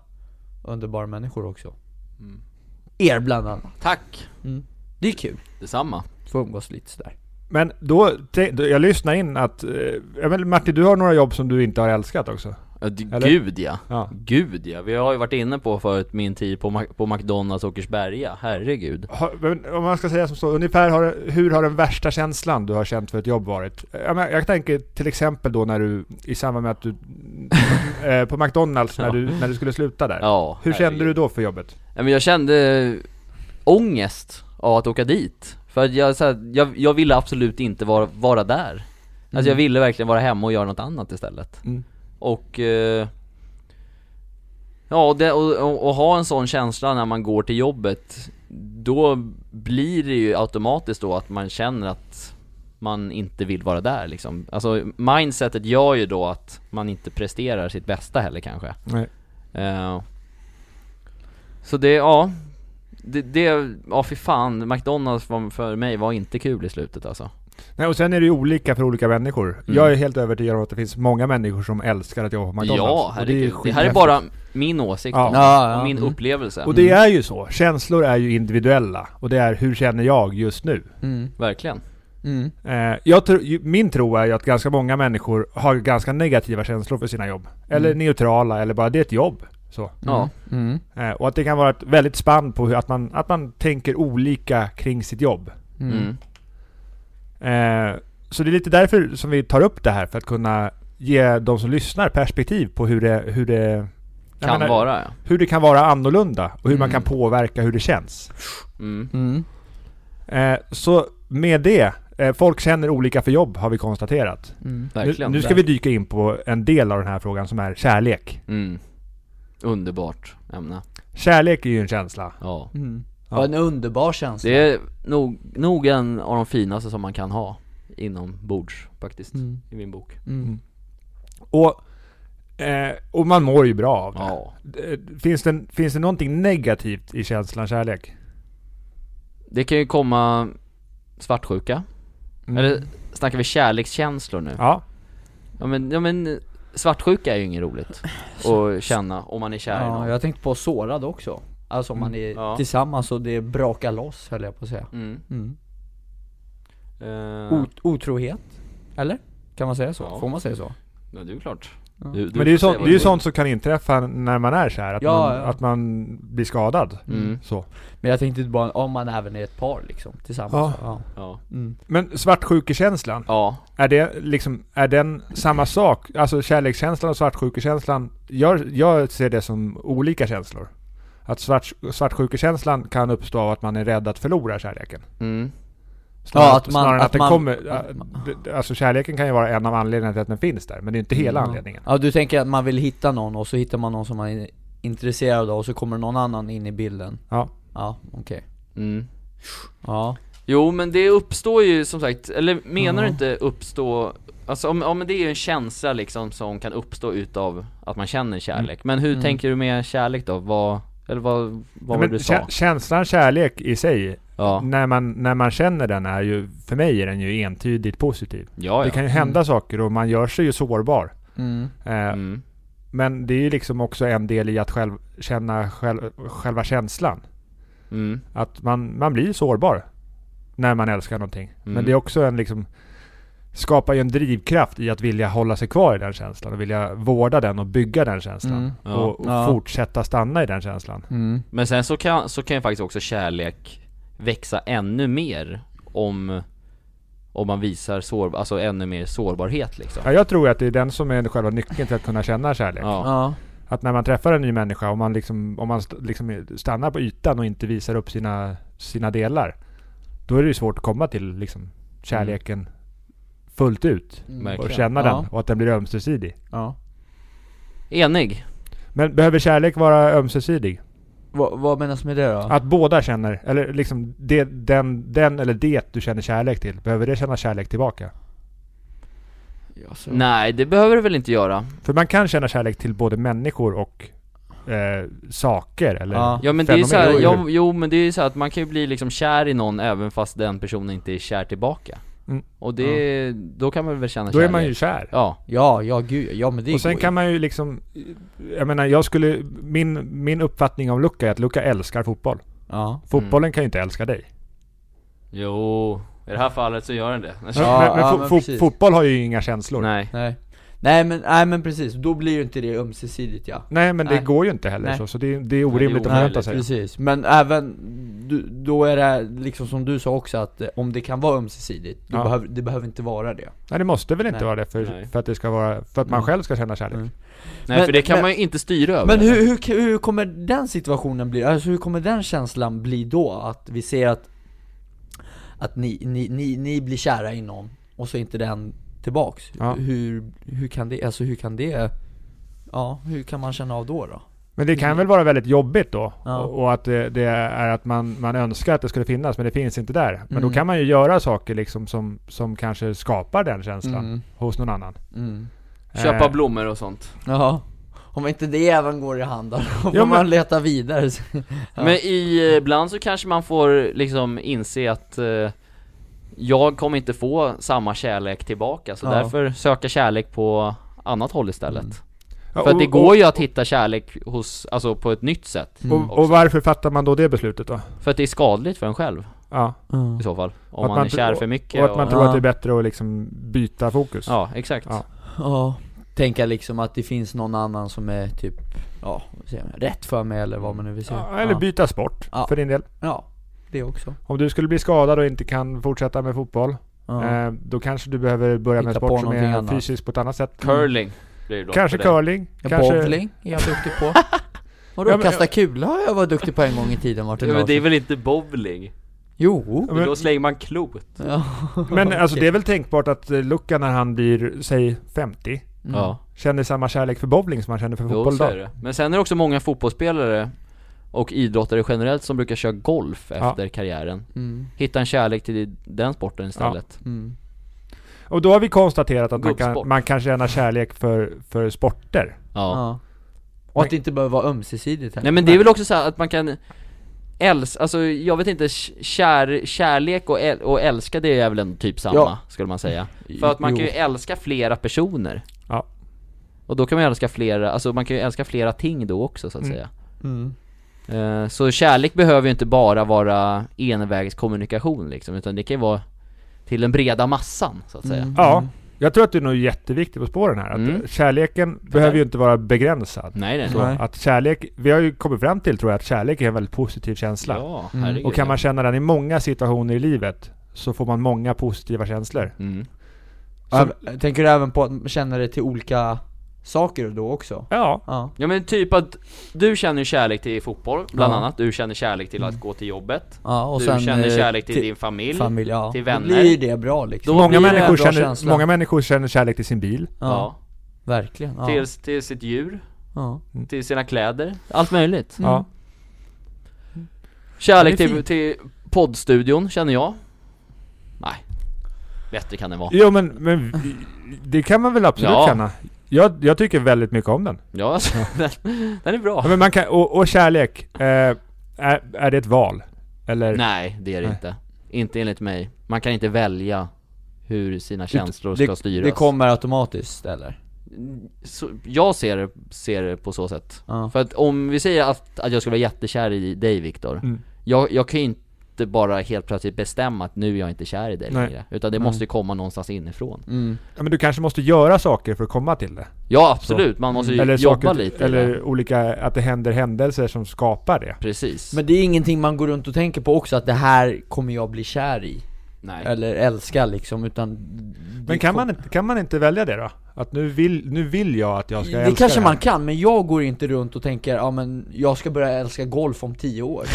Speaker 1: underbara människor också.
Speaker 2: Mm.
Speaker 1: Er bland annat.
Speaker 2: Tack,
Speaker 1: Det är kul,
Speaker 2: detsamma
Speaker 1: få umgås lite sådär.
Speaker 4: Men då, te, då jag lyssnar in att, eh, ja, men Martin du har några jobb som du inte har älskat också.
Speaker 2: Ja, d-
Speaker 4: Eller?
Speaker 2: Gud ja.
Speaker 4: Ja.
Speaker 2: Gud ja. Vi har ju varit inne på förut min tid på, Mac- på McDonalds Åkersberga, herregud.
Speaker 4: Har, men om man ska säga som så, ungefär har, hur har den värsta känslan du har känt för ett jobb varit? Ja, men jag tänker till exempel då när du, i samband med att du, eh, på McDonalds när du, när du skulle sluta där.
Speaker 2: Ja,
Speaker 4: Hur kände
Speaker 2: herregud.
Speaker 4: du då för jobbet?
Speaker 2: Ja, men jag kände ångest av att åka dit. För att jag, så här, jag, jag ville absolut inte vara, vara där. Alltså jag ville verkligen vara hemma och göra något annat istället.
Speaker 4: Mm.
Speaker 2: Och... Eh, ja, och det, och, och, och ha en sån känsla när man går till jobbet. Då blir det ju automatiskt då att man känner att man inte vill vara där liksom. Alltså mindsetet gör ju då att man inte presterar sitt bästa heller kanske.
Speaker 4: Nej.
Speaker 2: Eh, så det, ja. Det, det, ja fy fan, McDonalds var, för mig var inte kul i slutet alltså.
Speaker 4: Nej, och sen är det ju olika för olika människor.
Speaker 2: Mm.
Speaker 4: Jag är helt övertygad om att det finns många människor som älskar att jobba på McDonalds.
Speaker 2: Ja,
Speaker 4: Och det, är
Speaker 2: herregud. Det, här är
Speaker 4: skithäftigt.
Speaker 2: bara min åsikt
Speaker 4: Ja.
Speaker 2: och
Speaker 1: Ja, ja.
Speaker 2: min
Speaker 1: Mm.
Speaker 2: upplevelse.
Speaker 4: Och det är ju så. Känslor är ju individuella. Och det är hur känner jag just nu?
Speaker 1: Mm.
Speaker 2: Verkligen.
Speaker 1: Mm.
Speaker 4: Eh, jag tro, ju- min tro är ju att ganska många människor har ganska negativa känslor för sina jobb. Eller
Speaker 1: Mm.
Speaker 4: neutrala, eller bara det är ett jobb. Så.
Speaker 2: Ja.
Speaker 1: Mm.
Speaker 4: Eh, och att det kan vara ett väldigt spann på hur, att, man, att man tänker olika kring sitt jobb.
Speaker 1: Mm.
Speaker 2: Mm.
Speaker 4: Eh, så det är lite därför som vi tar upp det här, för att kunna ge de som lyssnar perspektiv på hur det, hur det jag
Speaker 2: Kan
Speaker 4: menar,
Speaker 2: vara ja.
Speaker 4: hur det kan vara annorlunda och hur
Speaker 1: Mm.
Speaker 4: man kan påverka hur det känns.
Speaker 2: Mm.
Speaker 1: Mm.
Speaker 4: Eh, så med det, eh, folk känner olika för jobb har vi konstaterat.
Speaker 1: Mm.
Speaker 4: Nu,
Speaker 2: Verkligen.
Speaker 4: nu ska vi dyka in på en del av den här frågan som är kärlek.
Speaker 2: Mm. Underbart ämne.
Speaker 4: Kärlek är ju en känsla.
Speaker 2: Ja.
Speaker 1: Mm.
Speaker 4: Ja.
Speaker 1: Ja. En underbar känsla.
Speaker 2: Det är nog, nog en av de finaste som man kan ha inom bords faktiskt.
Speaker 1: Mm.
Speaker 2: I min bok.
Speaker 1: Mm.
Speaker 4: Och, eh, och man mår ju bra av det.
Speaker 2: Ja.
Speaker 4: Eh, Finns, det. Finns det någonting negativt i känslan kärlek?
Speaker 2: Det kan ju komma svartsjuka.
Speaker 4: Mm.
Speaker 2: Eller snackar vi kärlekskänslor nu?
Speaker 4: Ja.
Speaker 2: Ja men, ja, men svartsjuka är ju inget roligt att känna om man är kär i
Speaker 1: Ja,
Speaker 2: någon.
Speaker 1: jag tänkte på sårad också. Alltså om man
Speaker 4: Mm.
Speaker 1: är
Speaker 2: Ja.
Speaker 1: tillsammans och det brakar loss höll jag på att säga.
Speaker 2: Mm.
Speaker 1: Mm.
Speaker 2: Eh,
Speaker 1: Ot- otrohet? Eller? Kan man säga så?
Speaker 2: Ja.
Speaker 1: Får man säga så?
Speaker 2: Ja, det är ju klart.
Speaker 1: Ja.
Speaker 2: Du, du
Speaker 4: Men det är
Speaker 2: får säga
Speaker 4: ju sånt,
Speaker 2: vad
Speaker 4: det är
Speaker 2: du
Speaker 4: ju
Speaker 2: vill.
Speaker 4: sånt som kan inträffa när man är så här att,
Speaker 1: Ja,
Speaker 4: man,
Speaker 1: ja.
Speaker 4: att man blir skadad.
Speaker 2: Mm.
Speaker 4: Så.
Speaker 1: Men jag tänkte bara om man även är ett par liksom, tillsammans.
Speaker 4: Ja.
Speaker 1: Ja.
Speaker 2: Ja.
Speaker 1: Mm.
Speaker 4: Men svartsjukekänslan,
Speaker 2: ja.
Speaker 4: är det liksom, är den samma sak? Alltså kärlekskänslan och svartsjukekänslan, jag, jag ser det som olika känslor. Att svart, svartsjukekänslan kan uppstå av att man är rädd att förlora kärleken.
Speaker 2: Mm.
Speaker 4: Snarare,
Speaker 1: Ja, att
Speaker 4: att,
Speaker 1: man-
Speaker 4: snarare än
Speaker 1: att
Speaker 4: att den
Speaker 1: man-
Speaker 4: kommer, äh, d- d- alltså kärleken kan ju vara en av anledningarna till att den finns där, men det är inte hela
Speaker 1: Ja.
Speaker 4: anledningen.
Speaker 1: Mm. Ja du tänker att man vill hitta någon och så hittar man någon som man är intresserad av och så kommer någon annan in i bilden.
Speaker 4: Ja.
Speaker 1: Ja, okej.
Speaker 2: Mm.
Speaker 1: Ja.
Speaker 2: Jo men det uppstår ju som sagt, eller menar du
Speaker 1: Ja.
Speaker 2: inte uppstå Alltså om, ja, men det är ju en känsla liksom som kan uppstå utav att man känner kärlek Men hur
Speaker 1: Mm.
Speaker 2: tänker du med kärlek då? Vad, eller vad, vad var
Speaker 4: Men Mm.
Speaker 2: det du
Speaker 4: kä-
Speaker 2: sa?
Speaker 4: känslan kärlek i sig,
Speaker 2: Ja,
Speaker 4: när, man, när man känner den är ju, för mig är den ju entydigt positiv.
Speaker 2: ja,
Speaker 4: Det
Speaker 2: ja.
Speaker 4: kan ju hända saker och man gör sig ju sårbar.
Speaker 1: Mm.
Speaker 4: Eh,
Speaker 2: Mm.
Speaker 4: Men det är ju liksom också en del i att själv känna själv, själva känslan.
Speaker 2: Mm.
Speaker 4: Att man, man blir sårbar när man älskar någonting.
Speaker 2: Mm.
Speaker 4: Men det är också en liksom skapar ju en drivkraft i att vilja hålla sig kvar i den känslan och vilja vårda den och bygga den känslan.
Speaker 1: Mm.
Speaker 2: Ja.
Speaker 4: Och, och
Speaker 1: Ja.
Speaker 4: fortsätta stanna i den känslan.
Speaker 1: Mm.
Speaker 2: Men sen så kan, så kan ju faktiskt också kärlek växa ännu mer om, om man visar sår, alltså ännu mer sårbarhet liksom
Speaker 4: Ja, jag tror att det är den som är själva nyckeln till att kunna känna kärlek.
Speaker 2: Ja,
Speaker 1: Ja.
Speaker 4: Att när man träffar en ny människa, om man, liksom, om man st- liksom stannar på ytan och inte visar upp sina, sina delar, då är det ju svårt att komma till liksom, kärleken fullt ut. Och
Speaker 2: Mm. verkligen
Speaker 4: känna
Speaker 1: Ja.
Speaker 4: den och att den blir ömsesidig.
Speaker 1: ja.
Speaker 2: Enig?
Speaker 4: Men behöver kärlek vara ömsesidig?
Speaker 1: Vad, vad menas med det då?
Speaker 4: Att båda känner, eller liksom det, den, den eller det du känner kärlek till, behöver det känna kärlek tillbaka?
Speaker 1: Alltså,
Speaker 2: Nej det behöver du väl inte göra?
Speaker 4: För man kan känna kärlek till både människor och eh, saker eller
Speaker 1: Ja.
Speaker 2: Ja men det är ju
Speaker 4: fenomen.
Speaker 2: såhär,
Speaker 4: Jo,
Speaker 2: jo,
Speaker 4: jo.
Speaker 2: jo men det är ju så här att man kan ju bli liksom kär i någon även fast den personen inte är kär tillbaka
Speaker 4: Mm.
Speaker 2: Och det, då kan man väl känna
Speaker 4: Då är
Speaker 2: kärlek?
Speaker 4: man ju kär.
Speaker 2: Ja,
Speaker 1: Ja, ja gud ja men det
Speaker 4: Och sen
Speaker 1: går
Speaker 4: kan man ju liksom, jag menar jag skulle, min, min uppfattning om Luca är att Luca älskar fotboll.
Speaker 1: ju. Ja.
Speaker 4: Fotbollen kan ju inte älska dig.
Speaker 2: jo, i det här fallet så gör den det
Speaker 1: Ja,
Speaker 4: men men,
Speaker 1: ja,
Speaker 4: fo-
Speaker 1: men
Speaker 4: fo-
Speaker 1: precis.
Speaker 4: fotboll har ju inga känslor. Nej,
Speaker 2: Nej,
Speaker 1: Nej. Nej men, nej men precis, då blir ju inte det ömsesidigt ja.
Speaker 4: men det
Speaker 1: Nej.
Speaker 4: går ju inte heller
Speaker 1: Nej.
Speaker 4: så, så det, är- det är orimligt
Speaker 2: det är
Speaker 4: att förvänta
Speaker 2: omöjligt.
Speaker 4: sig.
Speaker 1: Precis, men även, du, då är det liksom som du sa också att eh, om det kan vara ömsesidigt, då
Speaker 4: Ja.
Speaker 1: behöver, det behöver inte vara det.
Speaker 4: Nej det måste väl inte
Speaker 1: Nej.
Speaker 4: vara det för,
Speaker 2: Nej.
Speaker 4: för att det ska vara, för att man
Speaker 1: Mm.
Speaker 4: själv ska känna kärlek.
Speaker 1: Mm.
Speaker 2: nej
Speaker 1: Men-
Speaker 2: för det kan
Speaker 1: men-
Speaker 2: man ju inte styra över
Speaker 1: Men
Speaker 2: eller?
Speaker 1: hur, hur, hur kommer den situationen bli? Alltså hur kommer den känslan bli då? Att vi ser att, att ni, ni, ni, ni blir kära i någon, och så är inte den tillbaks.
Speaker 4: Ja.
Speaker 1: Hur, hur kan det, alltså hur kan det, ja hur kan man känna av då då?
Speaker 4: Men det kan väl vara väldigt jobbigt då?
Speaker 1: Ja.
Speaker 4: Och, och att det, det är att man, man önskar att det skulle finnas men det finns inte där. Men
Speaker 1: Mm.
Speaker 4: då kan man ju göra saker liksom som, som kanske skapar den känslan
Speaker 1: Mm.
Speaker 4: hos någon annan.
Speaker 1: Mm.
Speaker 2: Köpa
Speaker 4: Eh,
Speaker 2: blommor och sånt
Speaker 1: Ja, om inte det även går i hand då får
Speaker 4: men-
Speaker 1: man leta vidare. Ja.
Speaker 2: Men i, eh, ibland så kanske man får liksom inse att eh, jag kommer inte få samma kärlek tillbaka så
Speaker 1: Ja.
Speaker 2: därför söka kärlek på annat håll istället
Speaker 4: Ja,
Speaker 2: För att
Speaker 4: och-
Speaker 2: det går ju att hitta kärlek hos, alltså på ett nytt sätt
Speaker 4: Och,
Speaker 1: Mm.
Speaker 4: och, och varför fattar man då det beslutet då?
Speaker 2: För att det är skadligt för en själv
Speaker 4: Ja.
Speaker 1: Mm.
Speaker 2: i så fall Om
Speaker 4: Att
Speaker 2: man,
Speaker 4: man
Speaker 2: är
Speaker 4: tr-
Speaker 2: kär för mycket
Speaker 4: Och att man
Speaker 1: Ja.
Speaker 4: tror att det är bättre att liksom byta fokus.
Speaker 2: Ja, exakt
Speaker 4: Ja.
Speaker 1: Ja, tänka liksom att det finns någon annan som är typ, ja, vad säger man, rätt för mig eller Eh, vad man nu vill säga.
Speaker 4: Ja, Eller
Speaker 1: ja.
Speaker 4: byta sport
Speaker 1: Ja.
Speaker 4: för din del.
Speaker 1: ja, det också.
Speaker 4: Om du skulle bli skadad och inte kan fortsätta med fotboll,
Speaker 1: Ja.
Speaker 4: eh, då kanske du behöver börja med en
Speaker 1: Hitta på
Speaker 4: sport som
Speaker 1: någonting
Speaker 4: är
Speaker 1: annat.
Speaker 4: fysisk på ett annat sätt. Mm.
Speaker 2: Curling blir det då
Speaker 4: Kanske
Speaker 2: för dig.
Speaker 4: curling,
Speaker 1: Ja,
Speaker 4: kanske...
Speaker 1: Bowling är jag duktig på. Vadå
Speaker 4: Ja, men-
Speaker 1: kasta kula har jag varit duktig på en gång i tiden Martin
Speaker 2: ja, men det är
Speaker 1: Larsson.
Speaker 2: väl inte bowling?
Speaker 1: Jo!
Speaker 4: Ja,
Speaker 2: För
Speaker 4: men-
Speaker 2: då slänger man klot
Speaker 1: Ja.
Speaker 4: Men alltså
Speaker 1: Okej.
Speaker 4: det är väl tänkbart att eh, Luca när han blir, säg 50,
Speaker 1: Mm.
Speaker 2: Ja,
Speaker 4: känner samma kärlek för bowling som han känner för
Speaker 2: jo
Speaker 4: fotboll
Speaker 2: så är
Speaker 4: idag.
Speaker 2: det Men sen är det också många fotbollsspelare och idrottare generellt som brukar köra golf
Speaker 4: Ja.
Speaker 2: efter karriären
Speaker 1: Mm.
Speaker 2: Hitta en kärlek till den sporten istället
Speaker 1: Mm.
Speaker 4: Och då har vi konstaterat att man
Speaker 2: Gubbsport.
Speaker 4: kan, man kan känna kärlek för, för sporter.
Speaker 2: Ja,
Speaker 1: Ja. Och att det inte behöver vara ömsesidigt heller.
Speaker 2: Nej men det är väl också så här att man kan Äls, alltså jag vet inte, kär, kärlek och, äl, och älska det är väl en typ samma,
Speaker 1: Ja.
Speaker 2: skulle man säga För att man
Speaker 1: Jo.
Speaker 2: kan ju älska flera personer
Speaker 4: Mm. Ja.
Speaker 2: Och då kan man ju älska flera, alltså man kan ju älska flera ting då också så att
Speaker 4: Mm.
Speaker 2: säga
Speaker 1: Mm.
Speaker 2: Eh, Så kärlek behöver ju inte bara vara envägskommunikation liksom, utan det kan ju vara till den breda massan så att säga
Speaker 1: Mm.
Speaker 4: Ja, Jag tror att det är nog jätteviktigt på spåren här. Att
Speaker 2: Mm.
Speaker 4: Kärleken behöver ju inte vara begränsad.
Speaker 2: Nej, nej.
Speaker 4: Så
Speaker 1: Nej.
Speaker 4: att kärlek, vi har ju kommit fram till tror jag att kärlek är en väldigt positiv känsla.
Speaker 2: Ja,
Speaker 1: Mm.
Speaker 2: herregud.
Speaker 4: Och kan man känna den i många situationer i livet så får man många positiva känslor.
Speaker 2: Mm.
Speaker 1: Så, tänker du även på att känna det till olika saker då också?
Speaker 4: Ja,
Speaker 1: Ja.
Speaker 2: Ja men typ att du känner kärlek till fotboll, bland
Speaker 1: Ja.
Speaker 2: annat. Du känner kärlek till att gå till jobbet.
Speaker 1: ja och
Speaker 2: du
Speaker 1: sen,
Speaker 2: känner
Speaker 1: eh,
Speaker 2: kärlek till, din familj.
Speaker 1: familj, ja.
Speaker 2: till
Speaker 1: Då
Speaker 2: vänner.
Speaker 1: blir ju det bra liksom.
Speaker 2: Då
Speaker 4: många
Speaker 2: blir det en
Speaker 4: människor,
Speaker 1: bra
Speaker 4: känner,
Speaker 1: känsla.
Speaker 4: många människor känner kärlek till sin bil.
Speaker 1: ja.
Speaker 2: Ja.
Speaker 1: Verkligen. Ja.
Speaker 2: Till, till sitt djur,
Speaker 1: ja.
Speaker 2: till sina kläder, allt möjligt.
Speaker 1: Mm.
Speaker 4: Ja.
Speaker 2: Kärlek
Speaker 1: Det är
Speaker 2: till,
Speaker 1: fint.
Speaker 2: till poddstudion, känner jag. Nej. Bättre kan det vara.
Speaker 4: Jo men, men vi- det kan man väl absolut
Speaker 2: Ja.
Speaker 4: känna. Jag, jag tycker väldigt mycket om den.
Speaker 2: Ja, alltså, den, den är bra.
Speaker 4: Ja, men man kan, och, och kärlek, eh, är, är det ett val? Eller?
Speaker 2: Nej, det är det
Speaker 4: Nej.
Speaker 2: inte. Inte enligt mig. Man kan inte välja hur sina känslor ska
Speaker 1: det,
Speaker 2: styras.
Speaker 1: det kommer automatiskt eller?
Speaker 2: så, jag ser, det- ser det på så sätt.
Speaker 1: Ja.
Speaker 2: För att om vi säger att, att jag ska vara jättekär i dig Viktor.
Speaker 4: Mm.
Speaker 2: Jag, jag kan ju inte bara helt plötsligt bestämma att nu är jag inte kär i dig
Speaker 4: Nej.
Speaker 2: längre. Utan det måste ju komma någonstans inifrån.
Speaker 1: Mm.
Speaker 4: Ja, men du kanske måste göra saker för att komma till det.
Speaker 2: Ja absolut, man
Speaker 1: typ
Speaker 2: måste ju
Speaker 4: Eller,
Speaker 2: jobba
Speaker 4: saker,
Speaker 2: lite. i det.
Speaker 4: eller olika, att det händer händelser som skapar det.
Speaker 2: Precis.
Speaker 1: Men det är ingenting man går runt och tänker på också, att det här kommer jag bli kär i.
Speaker 2: Nej.
Speaker 1: Eller älska liksom, utan... det
Speaker 4: Men kan
Speaker 1: kom-
Speaker 4: man, inte- kan man inte välja det då? Att nu vill, nu vill jag att jag ska
Speaker 1: Det
Speaker 4: älska
Speaker 1: kanske
Speaker 4: det
Speaker 1: man
Speaker 4: här.
Speaker 1: kan, men jag går inte runt och tänker ja men jag ska börja älska golf om tio år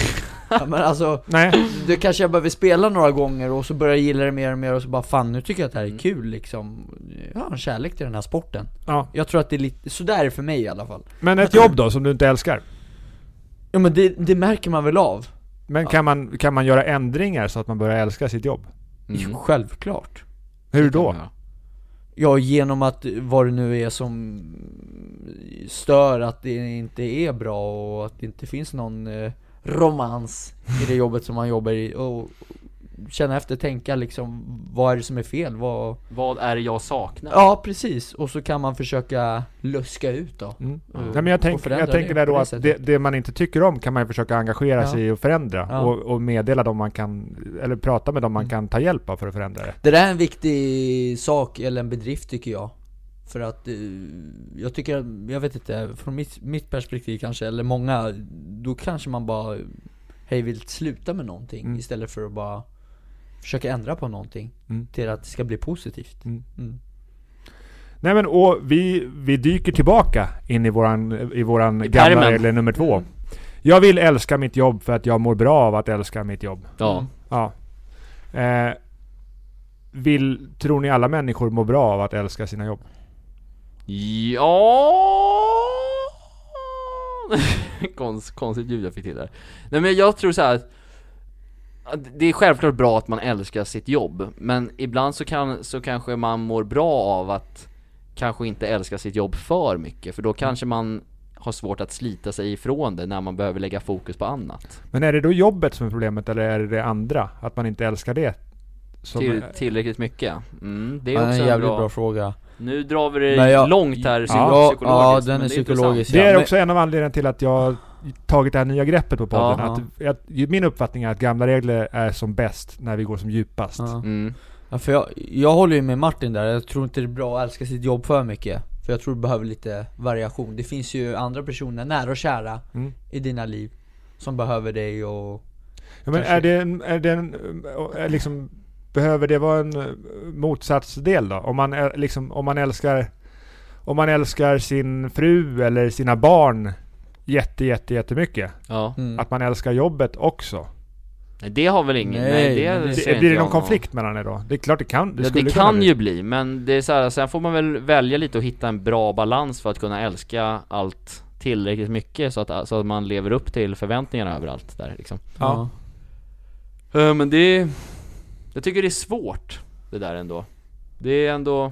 Speaker 1: ja, Men alltså,
Speaker 4: Nej,
Speaker 1: det kanske jag behöver spela några gånger och så börjar jag gilla det mer och mer och så bara fan nu tycker jag att det
Speaker 2: Mm.
Speaker 1: här är kul liksom Jag har en kärlek till den här sporten
Speaker 4: ja.
Speaker 1: Jag tror att det är lite, sådär är det för mig i alla fall
Speaker 4: Men ett jobb då som du inte älskar?
Speaker 1: Ja men det, det märker man väl av?
Speaker 4: Men kan, man, kan man göra ändringar så att man börjar älska sitt jobb?
Speaker 2: Mm.
Speaker 1: Jo, Självklart
Speaker 4: Hur då?
Speaker 2: Ja.
Speaker 1: Ja genom att vad det nu är som stör att det inte är bra och att det inte finns någon eh, romans i det jobbet som man jobbar i och känna efter, tänka liksom vad är det som är fel? Vad...
Speaker 2: Vad är det jag saknar?
Speaker 1: Ja precis, och så kan man försöka luska ut då
Speaker 4: Mm.
Speaker 1: Ja.
Speaker 4: Nej, men jag, tänk,
Speaker 1: Och förändra
Speaker 4: jag tänker
Speaker 1: det
Speaker 4: där då
Speaker 1: på det
Speaker 4: att det,
Speaker 1: sättet.
Speaker 4: det man inte tycker om kan man ju försöka engagera
Speaker 1: Ja.
Speaker 4: sig i och förändra.
Speaker 1: Ja. Mm.
Speaker 4: Och, och meddela dem man kan, eller prata med dem man kan ta hjälp av för att förändra det.
Speaker 1: Det där är en viktig sak, eller en bedrift tycker jag För att eh, jag tycker, jag vet inte, från mitt, mitt perspektiv kanske, eller många Då kanske man bara hej vill sluta med någonting
Speaker 4: Mm.
Speaker 1: istället för att bara försöka ändra på någonting
Speaker 4: Mm.
Speaker 1: Till att det ska bli positivt
Speaker 4: Mm.
Speaker 1: Mm.
Speaker 4: Nej men och vi, vi dyker tillbaka in i våran, i våran
Speaker 2: I
Speaker 4: gamla
Speaker 2: pärmen.
Speaker 4: regel nummer
Speaker 1: Mm.
Speaker 4: två. Jag vill älska mitt jobb för att jag mår bra av att älska mitt jobb.
Speaker 2: Ja.
Speaker 4: Ja. Eh, vill, tror ni alla människor mår bra av att älska sina jobb?
Speaker 2: Ja. Konst, konstigt ljud jag fick till där. Nej men jag tror så här. att- att Det är självklart bra att man älskar sitt jobb, men ibland så, kan, så kanske man mår bra av att kanske inte älska sitt jobb för mycket, för då kanske man har svårt att slita sig ifrån det när man behöver lägga fokus på annat.
Speaker 4: Men är det då jobbet som är problemet eller är det det andra? Att man inte älskar det? Som,
Speaker 2: Till, tillräckligt mycket. Mm, det
Speaker 1: Det är
Speaker 2: är också
Speaker 1: en
Speaker 2: en
Speaker 1: jävligt
Speaker 2: bra.
Speaker 1: bra, fråga
Speaker 2: Nu drar vi det
Speaker 1: Men jag-
Speaker 2: långt här
Speaker 1: ja,
Speaker 2: psykologiskt.
Speaker 1: ja,
Speaker 2: men
Speaker 1: den är
Speaker 2: det intressant.
Speaker 1: psykologisk
Speaker 4: det
Speaker 1: ja.
Speaker 4: är
Speaker 1: Men-
Speaker 4: också en av anledningarna till att jag har tagit det här nya greppet på podden.
Speaker 1: Ja.
Speaker 4: Att, att, min uppfattning är att gamla regler är som bäst när vi går som djupast.
Speaker 1: ja.
Speaker 2: Mm.
Speaker 1: Ja, för jag, jag håller ju med Martin där, jag tror inte det är bra att älska sitt jobb för mycket För jag tror du behöver lite variation Det finns ju andra personer, nära och kära,
Speaker 4: Mm.
Speaker 1: i dina liv Som behöver dig och...
Speaker 4: Ja, men
Speaker 1: Kanske.
Speaker 4: är det, en, är det en, eh, liksom, behöver det vara en eh, motsatsdel då? Om man, eh, liksom, om man älskar om man älskar sin fru eller sina barn jätte, jätte, jättemycket.
Speaker 2: Ja.
Speaker 1: Mm.
Speaker 4: Att man älskar jobbet också.
Speaker 2: Nej, Det har väl ingen, nej,
Speaker 1: Nej,
Speaker 2: det,
Speaker 1: men det-
Speaker 2: ser
Speaker 4: Det,
Speaker 2: inte
Speaker 4: blir det
Speaker 2: jag
Speaker 4: någon konflikt mellan er då? Det är klart det kan. Det,
Speaker 2: Det, ja,
Speaker 4: skulle
Speaker 2: det
Speaker 4: kunna
Speaker 2: kan
Speaker 4: bli.
Speaker 2: ju bli, men det är så här, sen får man väl välja lite och hitta en bra balans för att kunna älska allt tillräckligt mycket så att, så att man lever upp till förväntningarna överallt där liksom.
Speaker 1: ja.
Speaker 2: Eh, Men det, jag tycker det är svårt det där ändå. Det är ändå,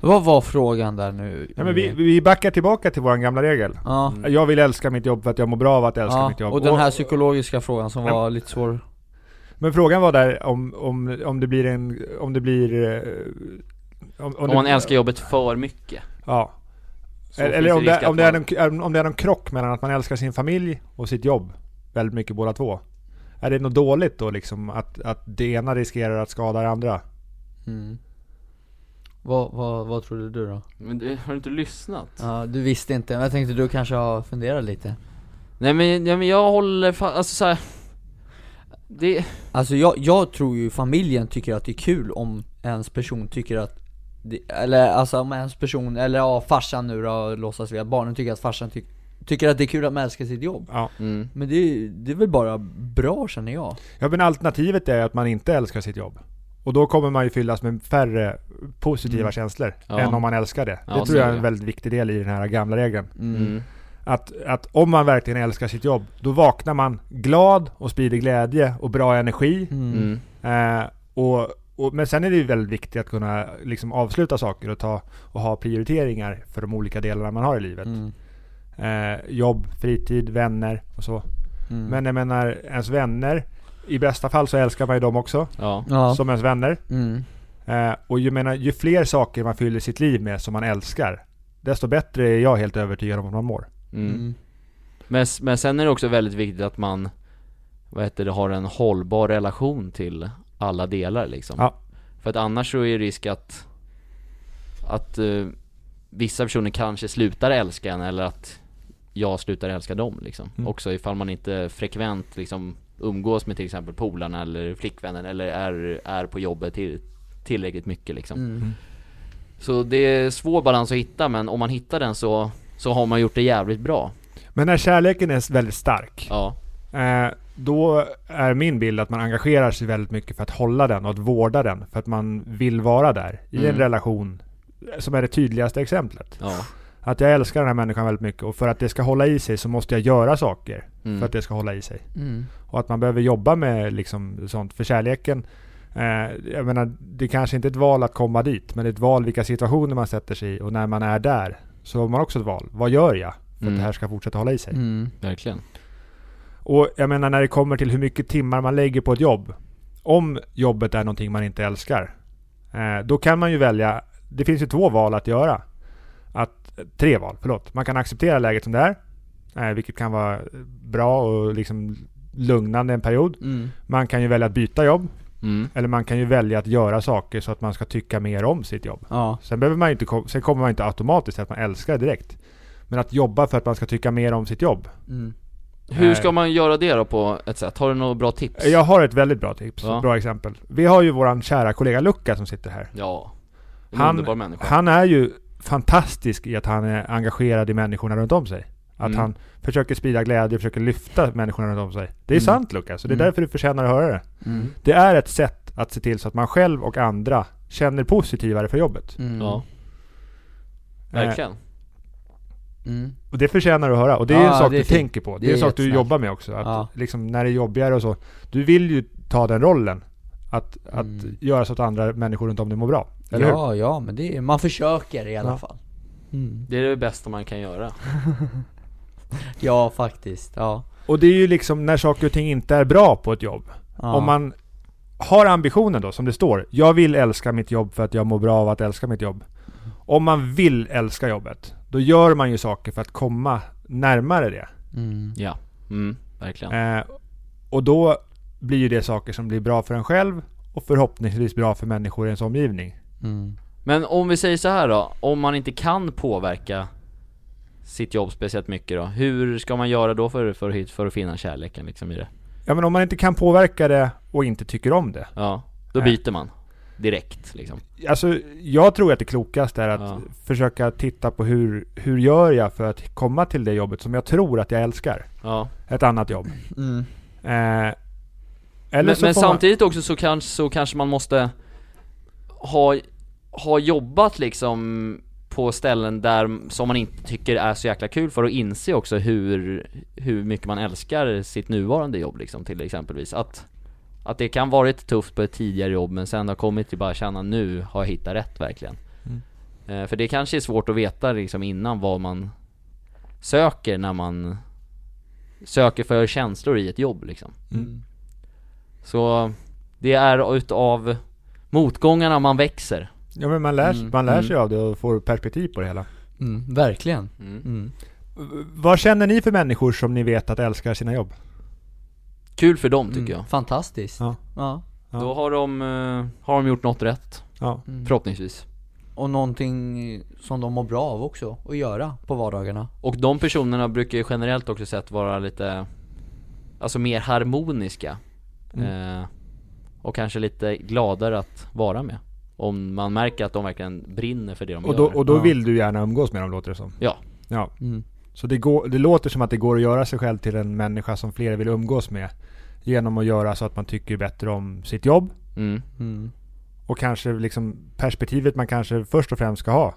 Speaker 1: Vad var frågan där nu? Mm.
Speaker 4: Ja, men vi, vi backar tillbaka till vår gamla regel.
Speaker 1: ja.
Speaker 2: Mm.
Speaker 4: Jag vill älska mitt jobb för att jag mår bra av att älska
Speaker 1: ja.
Speaker 4: mitt jobb.
Speaker 1: och den här psykologiska frågan som var lite svår
Speaker 4: Men frågan var där om, om, om det blir en... Om det blir... eh, Om,
Speaker 2: om
Speaker 4: det-
Speaker 2: man älskar jobbet för mycket.
Speaker 4: Ja.
Speaker 2: så finns
Speaker 4: Eller om
Speaker 2: risk
Speaker 4: det,
Speaker 2: att
Speaker 4: om, det är
Speaker 2: man-
Speaker 4: någon, om det är någon krock mellan att man älskar sin familj och sitt jobb väldigt mycket båda två. Är det något dåligt då liksom att, att det ena riskerar att skada det andra?
Speaker 1: mm. Vad, vad, vad trodde du då?
Speaker 2: Men du, har du inte lyssnat?
Speaker 1: Ja, du visste inte, men jag tänkte du kanske har funderat lite
Speaker 2: Nej men, ja, men jag håller fast, alltså så här. Det,
Speaker 1: Alltså jag, jag tror ju familjen tycker att det är kul om ens person tycker att det, Eller alltså om ens person, eller ja farsan nu då låtsas vi att barnen tycker att farsan tyck, tycker att det är kul att man älskar sitt jobb
Speaker 4: Ja.
Speaker 2: mm.
Speaker 1: Men det, är- det är väl bara bra känner jag
Speaker 4: ja, men alternativet är att man inte älskar sitt jobb. Och då kommer man ju fyllas med färre positiva känslor
Speaker 2: Mm. Ja.
Speaker 4: än om man älskar det.
Speaker 2: Ja,
Speaker 4: det
Speaker 2: så
Speaker 4: tror jag
Speaker 2: är
Speaker 4: är en
Speaker 2: det.
Speaker 4: väldigt viktig del i den här gamla regeln.
Speaker 2: Mm.
Speaker 4: Att, att om man verkligen älskar sitt jobb, då vaknar man glad och sprider glädje och bra energi.
Speaker 2: Mm.
Speaker 4: Eh, och, och, men sen är det ju väldigt viktigt att kunna liksom, avsluta saker och, ta, och ha prioriteringar för de olika delarna man har i livet.
Speaker 1: Mm.
Speaker 4: Eh, jobb, fritid, vänner och så.
Speaker 1: Mm.
Speaker 4: Men jag menar, ens vänner, i bästa fall så älskar man ju dem också,
Speaker 2: Ja.
Speaker 1: ja.
Speaker 4: som ens vänner.
Speaker 1: mm.
Speaker 4: Eh, och jag menar, ju fler saker man fyller sitt liv med som man älskar, desto bättre är jag helt övertygad om att man mår.
Speaker 2: Mm.
Speaker 1: Mm.
Speaker 2: Men, s- men sen är det också väldigt viktigt att man, vad heter det, har en hållbar relation till alla delar liksom.
Speaker 4: Ja.
Speaker 2: För att annars så är det risk att, att eh, vissa personer kanske slutar älska en eller att jag slutar älska dem liksom.
Speaker 4: Mm.
Speaker 2: Också ifall man inte frekvent liksom umgås med till exempel polarna eller flickvännen eller är, är på jobbet till, tillräckligt mycket liksom.
Speaker 1: Mm.
Speaker 2: Så det är svår balans att hitta men om man hittar den så, så har man gjort det jävligt bra.
Speaker 4: Men när kärleken är väldigt stark,
Speaker 2: Ja.
Speaker 4: Eh, då är min bild att man engagerar sig väldigt mycket för att hålla den och att vårda den. För att man vill vara där i en
Speaker 2: Mm.
Speaker 4: relation som är det tydligaste exemplet.
Speaker 2: Ja.
Speaker 4: Att jag älskar den här människan väldigt mycket och för att det ska hålla i sig så måste jag göra saker
Speaker 2: Mm.
Speaker 4: för att det ska hålla i sig.
Speaker 1: Mm.
Speaker 4: Och att man behöver jobba med liksom sånt. För kärleken, eh, jag menar, det kanske inte är ett val att komma dit, men det är ett val vilka situationer man sätter sig i och när man är där så har man också ett val. Vad gör jag för
Speaker 2: Mm.
Speaker 4: att det här ska fortsätta hålla i sig?
Speaker 1: Mm.
Speaker 2: Verkligen.
Speaker 4: Och jag menar när det kommer till hur mycket timmar man lägger på ett jobb. Om jobbet är någonting man inte älskar. eh, Då kan man ju välja. Det finns ju två val att göra. Att, tre val, förlåt. Man kan acceptera läget som det är. eh, Vilket kan vara bra och liksom lugnande en period.
Speaker 1: Mm.
Speaker 4: Man kan ju välja att byta jobb.
Speaker 2: Mm.
Speaker 4: Eller man kan ju välja att göra saker så att man ska tycka mer om sitt jobb.
Speaker 1: Ja,
Speaker 4: Sen, behöver man ju inte, kom- sen kommer man inte automatiskt att man älskar det direkt. Men att jobba för att man ska tycka mer om sitt jobb.
Speaker 1: mm.
Speaker 2: Hur
Speaker 4: Eh.
Speaker 2: ska man göra det då på ett sätt? Har du några bra tips?
Speaker 4: Jag har ett väldigt bra tips,
Speaker 2: Ja.
Speaker 4: ett bra exempel. Vi har ju våran kära kollega Luca som sitter här.
Speaker 2: Ja. En
Speaker 4: Han-
Speaker 2: underbar människa.
Speaker 4: Han är ju fantastisk i att han är engagerad i människorna runt om sig. Att
Speaker 2: Mm.
Speaker 4: han försöker sprida glädje, försöker lyfta människorna runt om sig. Det är
Speaker 1: Mm.
Speaker 4: sant Luca, så det är
Speaker 1: Mm.
Speaker 4: därför du förtjänar att höra det.
Speaker 1: Mm.
Speaker 4: Det är ett sätt att se till så att man själv och andra känner positivare för jobbet.
Speaker 1: Mm.
Speaker 2: Ja.
Speaker 4: Eh.
Speaker 2: Verkligen.
Speaker 1: Mm.
Speaker 4: Och det förtjänar du att höra. Och det är
Speaker 1: Ja,
Speaker 4: en sak
Speaker 1: det
Speaker 4: du
Speaker 1: är fint.
Speaker 4: tänker på. Det,
Speaker 1: Det
Speaker 4: är
Speaker 1: är
Speaker 4: en sak du
Speaker 1: jättesnällt.
Speaker 4: jobbar med också. Att
Speaker 1: Ja.
Speaker 4: liksom, när det är jobbigare och så. Du vill ju ta den rollen. Att, att
Speaker 1: Mm.
Speaker 4: göra så att andra människor runt om dig mår bra. Eller hur?
Speaker 1: Ja, ja, men det är, man försöker i alla
Speaker 4: Ja.
Speaker 1: fall mm.
Speaker 2: Det är det bästa man kan göra.
Speaker 1: Ja, faktiskt, ja,
Speaker 4: Och det är ju liksom när saker och ting inte är bra på ett jobb.
Speaker 1: ja.
Speaker 4: Om man har ambitionen då, som det står. Jag vill älska mitt jobb för att jag mår bra av att älska mitt jobb. Om man vill älska jobbet, då gör man ju saker för att komma närmare det.
Speaker 1: mm.
Speaker 2: Ja. Mm. Verkligen.
Speaker 4: Eh, och då blir ju det saker som blir bra för en själv och förhoppningsvis bra för människor i ens omgivning.
Speaker 1: Mm.
Speaker 2: Men om vi säger så här då. Om man inte kan påverka sitt jobb speciellt mycket då. Hur ska man göra då för, för, att hit- för att finna kärleken liksom i det?
Speaker 4: Ja men om man inte kan påverka det och inte tycker om det.
Speaker 2: Ja. Då
Speaker 4: Äh.
Speaker 2: byter man. Direkt liksom.
Speaker 4: Alltså jag tror att det klokaste är att
Speaker 2: Ja.
Speaker 4: försöka titta på hur, hur gör jag för att komma till det jobbet som jag tror att jag älskar.
Speaker 2: Ja.
Speaker 4: Ett annat jobb.
Speaker 1: Mm.
Speaker 4: Eh, eller
Speaker 2: men
Speaker 4: så
Speaker 2: men
Speaker 4: får man-
Speaker 2: samtidigt också så kanske, så kanske man måste ha, ha jobbat liksom på ställen där som man inte tycker är så jäkla kul för att inse också hur, hur mycket man älskar sitt nuvarande jobb liksom till exempelvis. Att, att det kan varit tufft på ett tidigare jobb men sen har kommit till bara känna nu har jag hittat rätt verkligen.
Speaker 4: Mm.
Speaker 2: Eh, För det kanske är svårt att veta liksom innan vad man söker när man söker för känslor i ett jobb liksom. Så det är utav motgångarna man växer.
Speaker 4: Ja men man lär,
Speaker 1: Mm,
Speaker 4: man lär sig av det och får perspektiv på det hela.
Speaker 1: Mm. Verkligen mm.
Speaker 4: Vad känner ni för människor som ni vet att älskar sina jobb?
Speaker 2: Kul för dem tycker jag.
Speaker 1: Fantastiskt
Speaker 4: Ja.
Speaker 1: ja.
Speaker 4: Mm. Ja.
Speaker 2: Då har de, eh, har de gjort något rätt,
Speaker 4: Ja.
Speaker 1: Mm.
Speaker 2: förhoppningsvis.
Speaker 1: och någonting som de mår bra av också att göra på vardagarna.
Speaker 2: Och de personerna brukar ju generellt också sett vara lite Alltså mer harmoniska
Speaker 4: Mm.
Speaker 2: eh, Och kanske lite gladare att vara med Om man märker att de verkligen brinner för det de
Speaker 4: Och då,
Speaker 2: gör
Speaker 4: och då
Speaker 1: Ja.
Speaker 4: vill du gärna umgås med dem låter det som.
Speaker 2: Ja,
Speaker 4: Ja.
Speaker 1: Mm.
Speaker 4: Så det, går, det låter som att det går att göra sig själv till en människa som fler vill umgås med. Genom att göra så att man tycker bättre om sitt jobb.
Speaker 2: mm.
Speaker 1: Mm.
Speaker 4: Och kanske liksom perspektivet man kanske först och främst ska ha.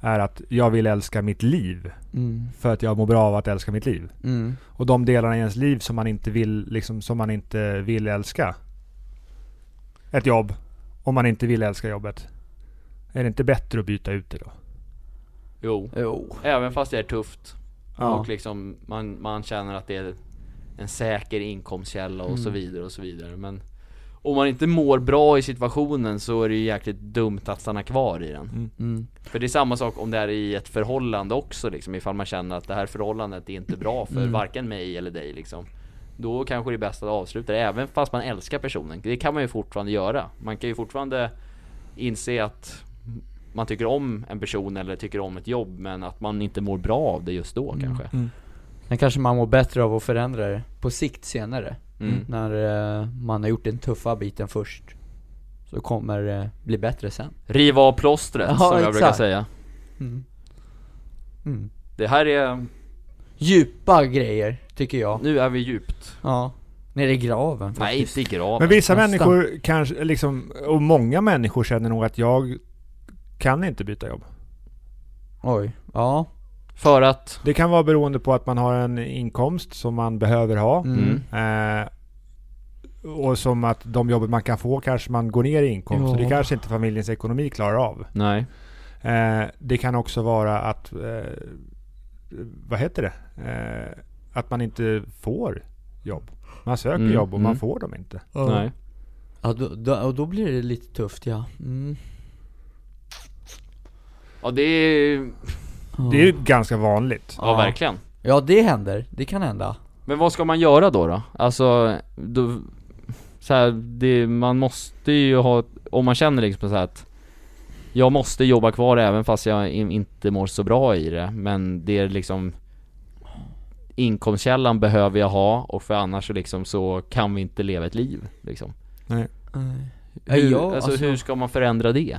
Speaker 4: Är att jag vill älska mitt liv.
Speaker 1: Mm.
Speaker 4: För att jag mår bra av att älska mitt liv.
Speaker 1: Mm.
Speaker 4: Och de delarna i ens liv som man inte vill, liksom, som man inte vill älska. Ett jobb. Om man inte vill älska jobbet. Är det inte bättre att byta ut det då?
Speaker 2: jo
Speaker 1: Jo.
Speaker 2: Även fast det är tufft
Speaker 4: Ja.
Speaker 2: och liksom man, man känner att det är en säker inkomstkälla och så vidare och så vidare men om man inte mår bra i situationen så är det ju jäkligt dumt att stanna kvar i den.
Speaker 1: Mm.
Speaker 2: För det är samma sak om det är i ett förhållande också liksom, ifall man känner att det här förhållandet är inte bra för varken mig eller dig liksom. Då kanske det är bäst att avsluta det, även fast man älskar personen. Det kan man ju fortfarande göra. Man kan ju fortfarande inse att man tycker om en person eller tycker om ett jobb men att man inte mår bra av det just då kanske.
Speaker 1: Sen kanske man mår bättre av att förändra det på sikt senare.
Speaker 2: Mm.
Speaker 1: När eh, man har gjort den tuffa biten först. Så kommer det bli bättre sen.
Speaker 2: Riva av plåstret
Speaker 1: Ja,
Speaker 2: som jag
Speaker 1: exakt.
Speaker 2: brukar säga.
Speaker 1: Mm. Mm.
Speaker 2: Det här är,
Speaker 1: Djupa grejer, tycker jag.
Speaker 2: nu är vi djupt.
Speaker 1: Ja. Nere i graven
Speaker 2: Nej
Speaker 1: faktiskt.
Speaker 2: inte i graven.
Speaker 4: Men vissa
Speaker 1: nästan.
Speaker 4: människor kanske, liksom, och många människor känner nog att jag kan inte byta jobb.
Speaker 1: Oj. Ja.
Speaker 2: För att,
Speaker 4: Det kan vara beroende på att man har en inkomst som man behöver ha.
Speaker 1: Mm.
Speaker 2: Mm.
Speaker 4: Eh, och som att de jobb man kan få kanske man går ner i inkomst. Och det
Speaker 1: Ja.
Speaker 4: kanske inte familjens ekonomi klarar av.
Speaker 2: nej.
Speaker 4: Eh, det kan också vara att, eh, vad heter det? Eh, att man inte får jobb. Man söker
Speaker 2: Mm,
Speaker 4: jobb och man
Speaker 2: mm.
Speaker 4: får dem inte.
Speaker 2: nej.
Speaker 1: Ja, då, då, och då blir det lite tufft ja. Mm.
Speaker 2: Ja det är,
Speaker 4: Det är ju ganska vanligt.
Speaker 2: ja verkligen.
Speaker 1: Ja, det händer. Det kan hända.
Speaker 2: Men vad ska man göra då då? Alltså, då, så här, det, man måste ju ha, om man känner liksom så här att jag måste jobba kvar även fast jag in- inte mår så bra i det, men det är liksom Inkomstkällan behöver jag ha och för annars så liksom så kan vi inte leva ett liv liksom.
Speaker 1: Nej,
Speaker 2: Hur,
Speaker 1: jag,
Speaker 2: alltså,
Speaker 1: alltså-
Speaker 2: hur ska man förändra det?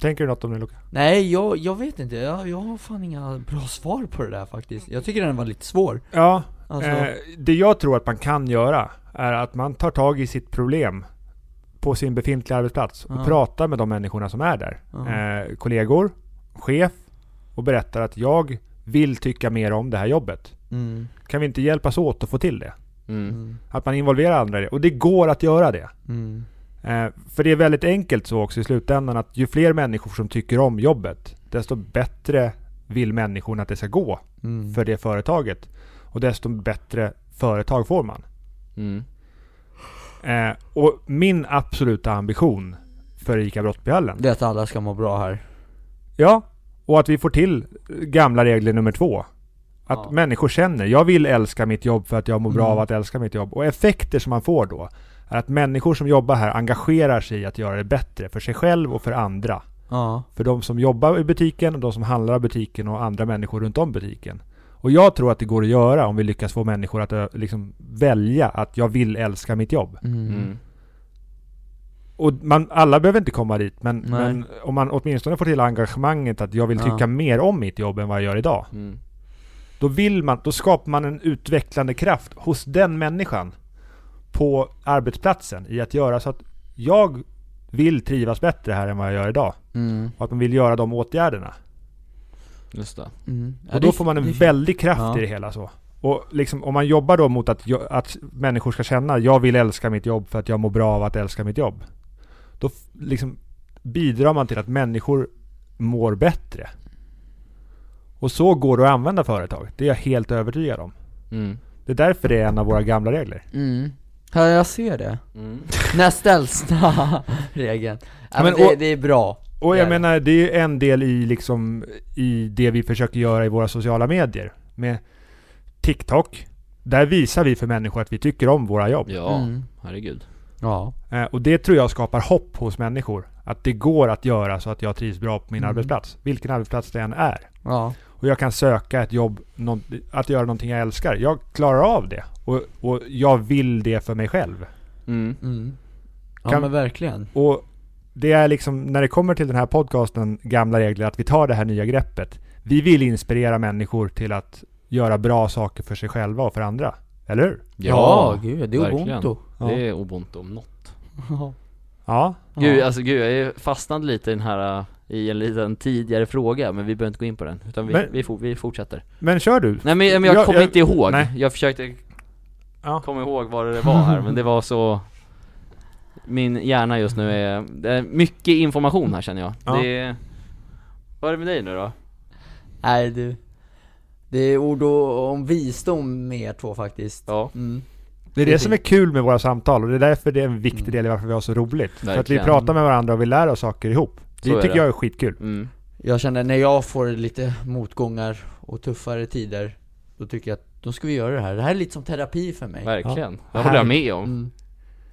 Speaker 4: Tänker du något om det Luca?
Speaker 1: Nej, jag, jag vet inte. Jag, jag har fan inga bra svar på det där faktiskt. Jag tycker den var lite svår.
Speaker 4: Ja,
Speaker 1: Alltså,
Speaker 4: Eh, det jag tror att man kan göra är att man tar tag i sitt problem på sin befintliga arbetsplats och
Speaker 1: Ja.
Speaker 4: pratar med de människorna som är där.
Speaker 1: Ja.
Speaker 4: Eh, kollegor, chef och berättar att jag vill tycka mer om det här jobbet.
Speaker 1: mm,
Speaker 4: Kan vi inte hjälpas åt att få till det?
Speaker 2: Mm.
Speaker 4: Att man involverar andra i det. Och det går att göra det.
Speaker 1: mm,
Speaker 4: Eh, för det är väldigt enkelt så också i slutändan att ju fler människor som tycker om jobbet, desto bättre vill människorna att det ska gå
Speaker 1: mm.
Speaker 4: för det företaget. Och desto bättre företag får man.
Speaker 2: Mm.
Speaker 4: Eh, och min absoluta ambition för ICA Brottbyhallen.
Speaker 1: Det är att alla ska må bra här.
Speaker 4: Ja, och att vi får till gamla regler nummer två. Att
Speaker 1: Ja.
Speaker 4: människor känner, jag vill älska mitt jobb för att jag mår bra
Speaker 1: Mm.
Speaker 4: av att älska mitt jobb. Och effekter som man får då är att människor som jobbar här engagerar sig i att göra det bättre för sig själv och för andra.
Speaker 1: Ja.
Speaker 4: För de som jobbar i butiken, och de som handlar av butiken och andra människor runt om butiken. Och jag tror att det går att göra om vi lyckas få människor att ö, liksom, välja att jag vill älska mitt jobb.
Speaker 1: Mm.
Speaker 2: Mm.
Speaker 4: Och man, alla behöver inte komma dit, men,
Speaker 1: Nej.
Speaker 4: men om man åtminstone får till engagemanget att jag vill
Speaker 1: Ja.
Speaker 4: tycka mer om mitt jobb än vad jag gör idag.
Speaker 2: Mm.
Speaker 4: Då vill man, då skapar man en utvecklande kraft hos den människan på arbetsplatsen i att göra så att jag vill trivas bättre här än vad jag gör idag.
Speaker 1: Mm.
Speaker 4: Och att man vill göra de åtgärderna.
Speaker 2: Just det.
Speaker 1: Mm. Ja,
Speaker 4: och
Speaker 1: det
Speaker 4: då
Speaker 1: är-
Speaker 4: får man en
Speaker 1: det är-
Speaker 4: väldig kraft
Speaker 1: Ja.
Speaker 4: i det hela så. Och liksom, om man jobbar då mot att, jag, att människor ska känna jag vill älska mitt jobb för att jag mår bra av att älska mitt jobb. Då f- liksom bidrar man till att människor mår bättre. Och så går det att använda företaget. Det är jag helt övertygad om.
Speaker 2: Mm.
Speaker 4: Det är därför det är en av våra gamla regler.
Speaker 1: Mm. Ja, jag ser det.
Speaker 2: Mm.
Speaker 1: Näst äldsta regeln. Ja,
Speaker 4: Men
Speaker 1: men det,
Speaker 4: och-
Speaker 1: det är bra.
Speaker 4: Och
Speaker 1: Det
Speaker 4: jag
Speaker 1: är det.
Speaker 4: menar, det är ju en del i, liksom, i det vi försöker göra i våra sociala medier. Med TikTok. Där visar vi för människor att vi tycker om våra jobb.
Speaker 2: Ja,
Speaker 1: Mm.
Speaker 2: herregud.
Speaker 1: Ja.
Speaker 4: Eh, Och det tror jag skapar hopp hos människor. Att det går att göra så att jag trivs bra på min
Speaker 1: Mm.
Speaker 4: arbetsplats. Vilken arbetsplats det än är.
Speaker 1: Ja.
Speaker 4: Och jag kan söka ett jobb, nå- att göra någonting jag älskar. Jag klarar av det. Och, och jag vill det för mig själv.
Speaker 2: Mm.
Speaker 1: Mm. Ja
Speaker 4: Kan-
Speaker 1: men verkligen.
Speaker 4: Och det är liksom, när det kommer till den här podcasten, gamla regler, att vi tar det här nya greppet. Vi vill inspirera människor till att göra bra saker för sig själva och för andra. Eller hur?
Speaker 1: Ja, gud, det är
Speaker 2: verkligen.
Speaker 1: ubuntu.
Speaker 4: Ja.
Speaker 2: Det är ubuntu om något.
Speaker 1: Ja.
Speaker 4: Ja.
Speaker 2: Gud, alltså gud, jag är fastnad lite i den här, eh, i en liten tidigare fråga, men vi behöver inte gå in på den, utan vi,
Speaker 4: Men-
Speaker 2: vi, for, vi fortsätter
Speaker 4: Men kör du.
Speaker 2: Nej men, men jag
Speaker 4: Jag-
Speaker 2: kommer
Speaker 4: jag-
Speaker 2: inte ihåg,
Speaker 4: nej.
Speaker 2: jag försökte
Speaker 4: Ja.
Speaker 2: komma ihåg vad det var här, men det var så Min hjärna just nu är, det är mycket information här känner jag
Speaker 4: Ja.
Speaker 2: Det är, Vad är det med dig nu då?
Speaker 1: Nej du. Det är ord och, om visdom med er två faktiskt.
Speaker 2: Ja,
Speaker 1: Mm.
Speaker 4: Det är det som är kul med våra samtal och det är därför det är en viktig
Speaker 1: Mm.
Speaker 4: del i varför vi har så roligt. För att vi
Speaker 2: Verkligen.
Speaker 4: pratar med varandra och vi lär oss saker ihop. Det
Speaker 2: Så är
Speaker 4: tycker
Speaker 2: det.
Speaker 4: jag är skitkul.
Speaker 2: mm.
Speaker 1: Jag känner när jag får lite motgångar och tuffare tider, då tycker jag att då ska vi göra det här. Det här är lite som terapi för mig.
Speaker 2: verkligen Det håller jag med om
Speaker 1: Mm.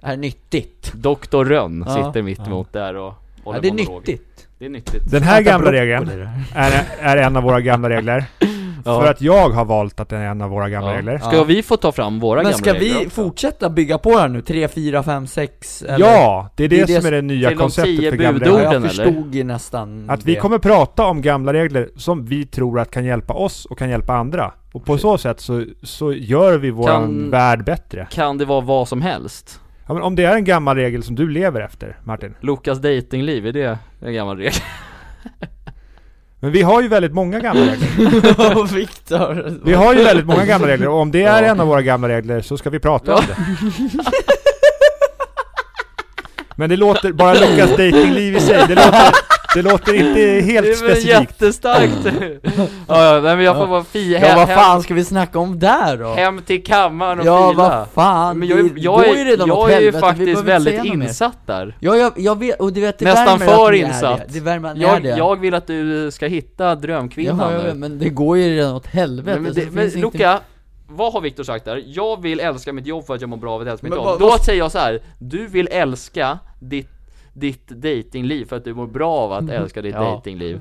Speaker 1: Det här är nyttigt.
Speaker 2: Doktor Rönn
Speaker 1: Ja.
Speaker 2: sitter mitt emot där och håller
Speaker 1: Ja, det är
Speaker 2: monolog.
Speaker 1: nyttigt.
Speaker 2: Det är nyttigt
Speaker 4: Den här
Speaker 1: Äta
Speaker 4: gamla
Speaker 1: broccoli,
Speaker 4: regeln
Speaker 1: det här.
Speaker 4: är, är en av våra gamla regler.
Speaker 2: Ja.
Speaker 4: För att jag har valt att den är en av våra gamla
Speaker 2: Ja.
Speaker 4: regler.
Speaker 2: Ska
Speaker 1: Ja.
Speaker 2: vi få ta fram våra
Speaker 1: Men
Speaker 2: gamla
Speaker 1: ska
Speaker 2: regler
Speaker 1: vi
Speaker 2: också?
Speaker 1: fortsätta bygga på här nu? 3, 4, 5, 6?
Speaker 4: Ja, det är det, som är det nya
Speaker 2: till de tio
Speaker 4: konceptet för gamla
Speaker 2: budorden.
Speaker 1: Ja,
Speaker 4: regler.
Speaker 1: jag
Speaker 2: eller?
Speaker 1: förstod ju
Speaker 2: Mm,
Speaker 1: nästan
Speaker 4: Att
Speaker 1: det.
Speaker 4: vi kommer prata om gamla regler som vi tror att kan hjälpa oss och kan hjälpa andra. Och på så sätt så, så gör vi vår
Speaker 2: Kan-
Speaker 4: värld bättre.
Speaker 2: Kan det vara vad som helst?
Speaker 4: Ja, men om det är en gammal regel som du lever efter, Martin.
Speaker 2: Lukas datingliv, är det en gammal regel?
Speaker 4: Men vi har ju väldigt många gamla regler.
Speaker 1: Ja, Viktor!
Speaker 4: Vi har ju väldigt många gamla regler och om det är
Speaker 2: Ja.
Speaker 4: en av våra gamla regler så ska vi prata om det. Men det låter, bara Lukas datingliv i sig, det låter, det låter inte
Speaker 2: Det
Speaker 4: helt
Speaker 2: är väl
Speaker 4: specifikt.
Speaker 2: jättestarkt! ja, ja, nej men jag får
Speaker 1: Ja.
Speaker 2: vara fi...
Speaker 1: Ja
Speaker 2: he-
Speaker 1: vad
Speaker 2: hem,
Speaker 1: fan ska vi snacka om där då?
Speaker 2: hem till kammaren och
Speaker 1: ja
Speaker 2: fila!
Speaker 1: vad fan,
Speaker 2: Men jag, är-
Speaker 1: det
Speaker 2: jag
Speaker 1: går
Speaker 2: är,
Speaker 1: redan åt
Speaker 2: jag är ju
Speaker 1: helvete, vi behöver
Speaker 2: faktiskt
Speaker 1: inte
Speaker 2: väldigt
Speaker 1: säga något mer.
Speaker 2: insatt där
Speaker 1: Ja jag, jag vet, och du vet det
Speaker 2: Nästan
Speaker 1: värmer att
Speaker 2: för
Speaker 1: ni är
Speaker 2: insatt.
Speaker 1: Det, det värmer att ni är
Speaker 2: jag,
Speaker 1: det
Speaker 2: jag vill att du ska hitta drömkvinnan
Speaker 1: Ja, ja,
Speaker 2: nu
Speaker 1: ja, men det går ju redan åt helvete
Speaker 2: Nej, men,
Speaker 1: så
Speaker 2: det,
Speaker 1: det
Speaker 2: men
Speaker 1: finns inte-
Speaker 2: Luca, vad har Viktor sagt där? Jag vill älska mitt jobb för att jag mår bra av att älska mitt
Speaker 1: Men
Speaker 2: jobb.
Speaker 1: vad-
Speaker 2: Då
Speaker 1: vad-
Speaker 2: säger jag så här. du vill älska ditt, ditt datingliv för att du mår bra av att älska ditt
Speaker 1: Mm. Ja.
Speaker 2: datingliv.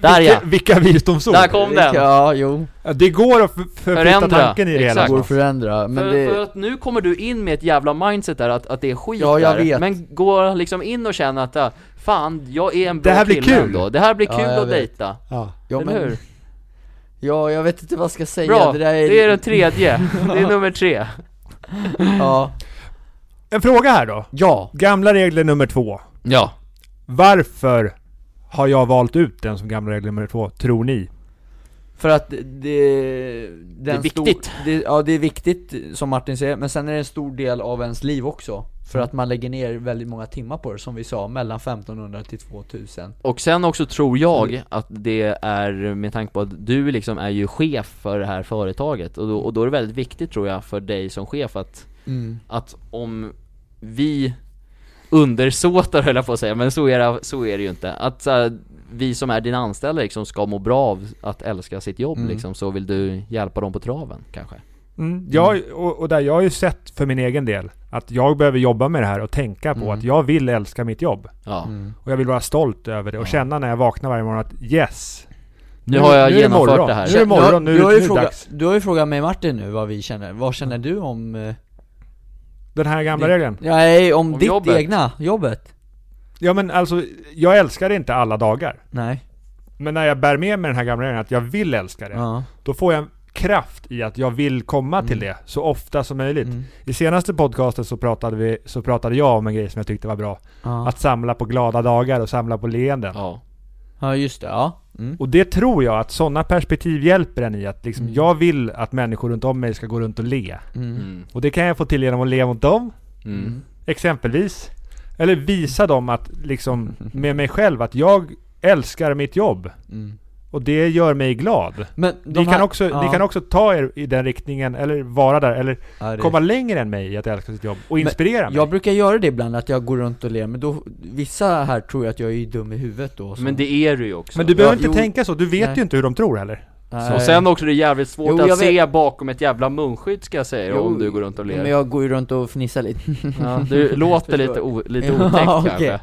Speaker 2: Där ja!
Speaker 4: Vilka, vilka visdomsord!
Speaker 2: Där kom den!
Speaker 1: Ja jo,
Speaker 4: Ja, Det går att f- förflytta
Speaker 2: Förändra.
Speaker 4: tanken i det hela.
Speaker 2: Exakt.
Speaker 1: går att förändra men
Speaker 2: för,
Speaker 1: det...
Speaker 2: för att nu kommer du in med ett jävla mindset där att, att det är skit
Speaker 1: Ja, jag
Speaker 2: där.
Speaker 1: vet.
Speaker 2: Men gå liksom in och känna att ah, fan, jag är en bra
Speaker 4: Det här blir
Speaker 2: kille
Speaker 4: kul.
Speaker 2: ändå. Det här blir
Speaker 1: Ja,
Speaker 2: kul
Speaker 1: jag
Speaker 2: att
Speaker 1: vet.
Speaker 2: dejta.
Speaker 4: Ja.
Speaker 1: ja,
Speaker 2: eller hur?
Speaker 1: men, ja jag vet inte vad jag ska säga,
Speaker 2: Bra,
Speaker 1: det där är...
Speaker 2: det är den tredje. Det är nummer tre.
Speaker 1: ja.
Speaker 4: En fråga här då.
Speaker 1: ja,
Speaker 4: Gamla regler nummer två.
Speaker 2: Ja.
Speaker 4: Varför har jag valt ut den som gamla regel nummer två, tror ni?
Speaker 1: för att det... den
Speaker 2: Det är
Speaker 1: stor-
Speaker 2: viktigt.
Speaker 1: det, ja det är viktigt som Martin säger, men sen är det en stor del av ens liv också För
Speaker 2: Mm.
Speaker 1: att man lägger ner väldigt många timmar på det som vi sa, mellan 1500 till 2000
Speaker 2: Och sen också tror jag att det är med tanke på att du liksom är ju chef för det här företaget och då, och då är det väldigt viktigt tror jag för dig som chef att,
Speaker 1: mm.
Speaker 2: att om vi undersåtar höll jag på att säga, men så är det, så är det ju inte. Att så här, vi som är dina anställda liksom ska må bra av att älska sitt jobb
Speaker 1: Mm.
Speaker 2: liksom, så vill du hjälpa dem på traven kanske.
Speaker 4: Mm, Jag,
Speaker 2: Mm.
Speaker 4: och, och där jag har ju sett för min egen del att jag behöver jobba med det här och tänka på
Speaker 1: Mm.
Speaker 4: att jag vill älska mitt jobb.
Speaker 2: Ja.
Speaker 1: Mm.
Speaker 4: Och jag vill vara stolt över det och känna när jag vaknar varje morgon att yes!
Speaker 2: Nu har jag
Speaker 4: är det
Speaker 2: genomfört
Speaker 4: morgon.
Speaker 2: det här.
Speaker 4: Nu är det morgon, nu,
Speaker 1: du, har
Speaker 4: nu
Speaker 1: ju
Speaker 4: är det
Speaker 1: fråga,
Speaker 4: dags.
Speaker 1: du har ju frågat mig Martin nu vad vi känner, vad känner du om... eh,
Speaker 4: Den här gamla
Speaker 1: Det-
Speaker 4: regeln.
Speaker 1: Nej, om,
Speaker 2: Om
Speaker 1: ditt
Speaker 2: jobbet.
Speaker 1: egna, jobbet?
Speaker 4: Ja men alltså, jag älskar det inte alla dagar.
Speaker 1: Nej,
Speaker 4: Men när jag bär med mig den här gamla regeln att jag vill älska det.
Speaker 1: ja,
Speaker 4: Då får jag en kraft i att jag vill komma till det så ofta som möjligt.
Speaker 1: Mm.
Speaker 4: I senaste podcasten så pratade, vi, så pratade jag om en grej som jag tyckte var bra.
Speaker 1: ja,
Speaker 4: Att samla på glada dagar och samla på leenden.
Speaker 2: Ja.
Speaker 1: ja just det, ja mm.
Speaker 4: Och det tror jag att sådana perspektiv hjälper en i att liksom,
Speaker 1: Mm.
Speaker 4: jag vill att människor runt om mig ska gå runt och le.
Speaker 1: Mm.
Speaker 2: Mm.
Speaker 4: Och det kan jag få till genom att le mot dem,
Speaker 2: Mm.
Speaker 4: exempelvis. Eller visa dem att liksom, med mig själv, att jag älskar mitt jobb.
Speaker 1: Mm.
Speaker 4: Och det gör mig glad.
Speaker 1: Men de
Speaker 4: Ni
Speaker 1: här,
Speaker 4: kan, också, ni kan också ta er i den riktningen, eller vara där, eller
Speaker 1: ja, det-
Speaker 4: komma längre än mig i att älska sitt jobb och inspirera mig.
Speaker 1: Jag brukar göra det ibland, att jag går runt och ler, men då, vissa här tror ju att jag är dum i huvudet då så.
Speaker 2: Men det är du ju också.
Speaker 4: Men du behöver
Speaker 1: Ja,
Speaker 4: inte
Speaker 1: jo.
Speaker 4: tänka så, du vet
Speaker 1: Nej.
Speaker 4: ju inte hur de tror heller.
Speaker 1: Nej.
Speaker 2: Och sen också det är jävligt svårt
Speaker 7: Jo, jag
Speaker 2: att se bakom ett jävla munskydd ska jag säga
Speaker 7: Jo,
Speaker 2: om du går runt och ler
Speaker 7: Men jag går ju runt och fnissar lite.
Speaker 2: ja, Du låter lite, o- lite otäckt
Speaker 1: Ja,
Speaker 2: kanske
Speaker 1: okej.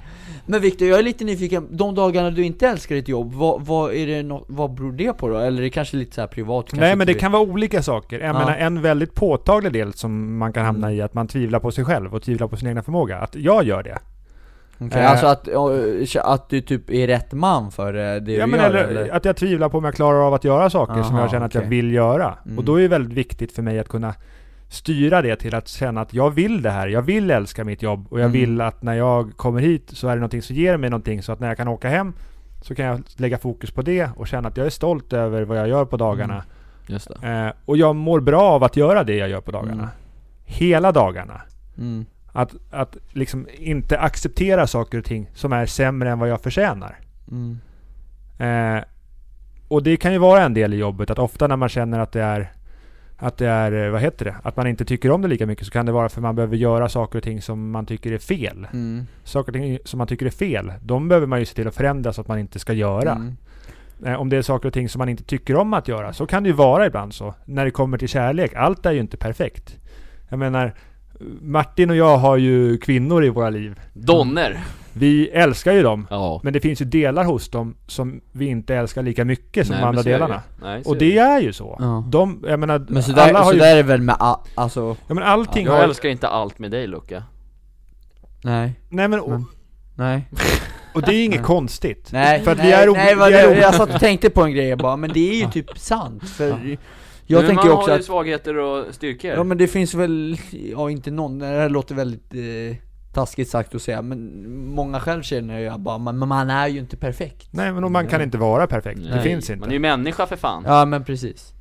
Speaker 1: Men Viktor, jag är lite nyfiken, de dagarna du inte älskar ditt jobb, vad, vad, är det no- vad beror det på då? Eller är det kanske lite så här privat? kanske
Speaker 4: Nej men
Speaker 1: inte
Speaker 4: det
Speaker 1: vi-
Speaker 4: kan vara olika saker. Jag
Speaker 1: Ja. Mm.
Speaker 4: menar en väldigt påtaglig del som man kan hamna i är att man tvivlar på sig själv och tvivlar på sin egna förmåga. Att jag gör det.
Speaker 1: Okej,
Speaker 4: Eh,
Speaker 1: Alltså att, ja, att du typ är rätt man för eh, det
Speaker 4: Ja,
Speaker 1: du
Speaker 4: men
Speaker 1: gör
Speaker 4: eller,
Speaker 1: eller?
Speaker 4: att jag tvivlar på om jag klarar av att göra saker som
Speaker 1: Aha,
Speaker 4: jag känner att jag
Speaker 1: okej.
Speaker 4: vill göra.
Speaker 1: Mm.
Speaker 4: Och då är det väldigt viktigt för mig att kunna styra det till att känna att jag vill det här. Jag vill älska mitt jobb och jag
Speaker 1: Mm.
Speaker 4: vill att när jag kommer hit så är det någonting som ger mig någonting. Så att när jag kan åka hem så kan jag lägga fokus på det och känna att jag är stolt över vad jag gör på dagarna.
Speaker 2: Just det.
Speaker 4: Eh, och jag mår bra av att göra det jag gör på dagarna.
Speaker 1: Mm.
Speaker 4: Hela dagarna.
Speaker 1: Mm.
Speaker 4: Att, att liksom inte acceptera saker och ting som är sämre än vad jag förtjänar.
Speaker 1: Mm.
Speaker 4: Eh, och det kan ju vara en del i jobbet, att ofta när man känner att det är att det är, eh, vad heter det, att man inte tycker om det lika mycket så kan det vara för man behöver göra saker och ting som man tycker är fel.
Speaker 1: Mm.
Speaker 4: Saker och ting som man tycker är fel, de behöver man ju se till att förändra så att man inte ska göra.
Speaker 1: Mm.
Speaker 4: Eh, om det är saker och ting som man inte tycker om att göra, så kan det ju vara ibland så. När det kommer till kärlek, allt är ju inte perfekt. Jag menar, Martin och jag har ju kvinnor i våra liv.
Speaker 2: Donner!
Speaker 4: Vi älskar ju dem.
Speaker 2: Ja
Speaker 4: Men det finns ju delar hos dem som vi inte älskar lika mycket som
Speaker 2: Nej,
Speaker 4: de
Speaker 2: men
Speaker 4: andra
Speaker 2: så är det
Speaker 4: delarna.
Speaker 2: ju. Nej, så
Speaker 4: Och
Speaker 2: är ju.
Speaker 4: det är ju så.
Speaker 1: Ja.
Speaker 4: De, jag menar,
Speaker 1: Men så där,
Speaker 4: alla har
Speaker 1: så
Speaker 4: ju...
Speaker 1: där är det väl med, a- alltså,
Speaker 4: Ja, men allting
Speaker 2: Jag
Speaker 4: har...
Speaker 2: älskar inte allt med dig Luca
Speaker 1: nej,
Speaker 4: Nej men, och,
Speaker 1: Men- nej
Speaker 4: och det är inget
Speaker 1: Nej.
Speaker 4: konstigt.
Speaker 1: Nej,
Speaker 4: För att
Speaker 1: nej,
Speaker 4: vi är o-
Speaker 1: nej vad
Speaker 4: vi är o-
Speaker 1: det, jag satt och tänkte på en grej bara, men det är ju typ sant för Jag
Speaker 2: men
Speaker 1: tänker
Speaker 2: man
Speaker 1: ju också
Speaker 2: har ju
Speaker 1: att,
Speaker 2: svagheter och styrkor
Speaker 1: ja men det finns väl, ja inte någon, det här låter väldigt eh, taskigt sagt att säga men många själv känner ju bara, man, men man är ju inte perfekt
Speaker 4: Nej men och man kan inte vara perfekt. Det
Speaker 2: Nej,
Speaker 4: finns
Speaker 2: Man är
Speaker 4: inte.
Speaker 2: ju människa för fan
Speaker 1: Ja men precis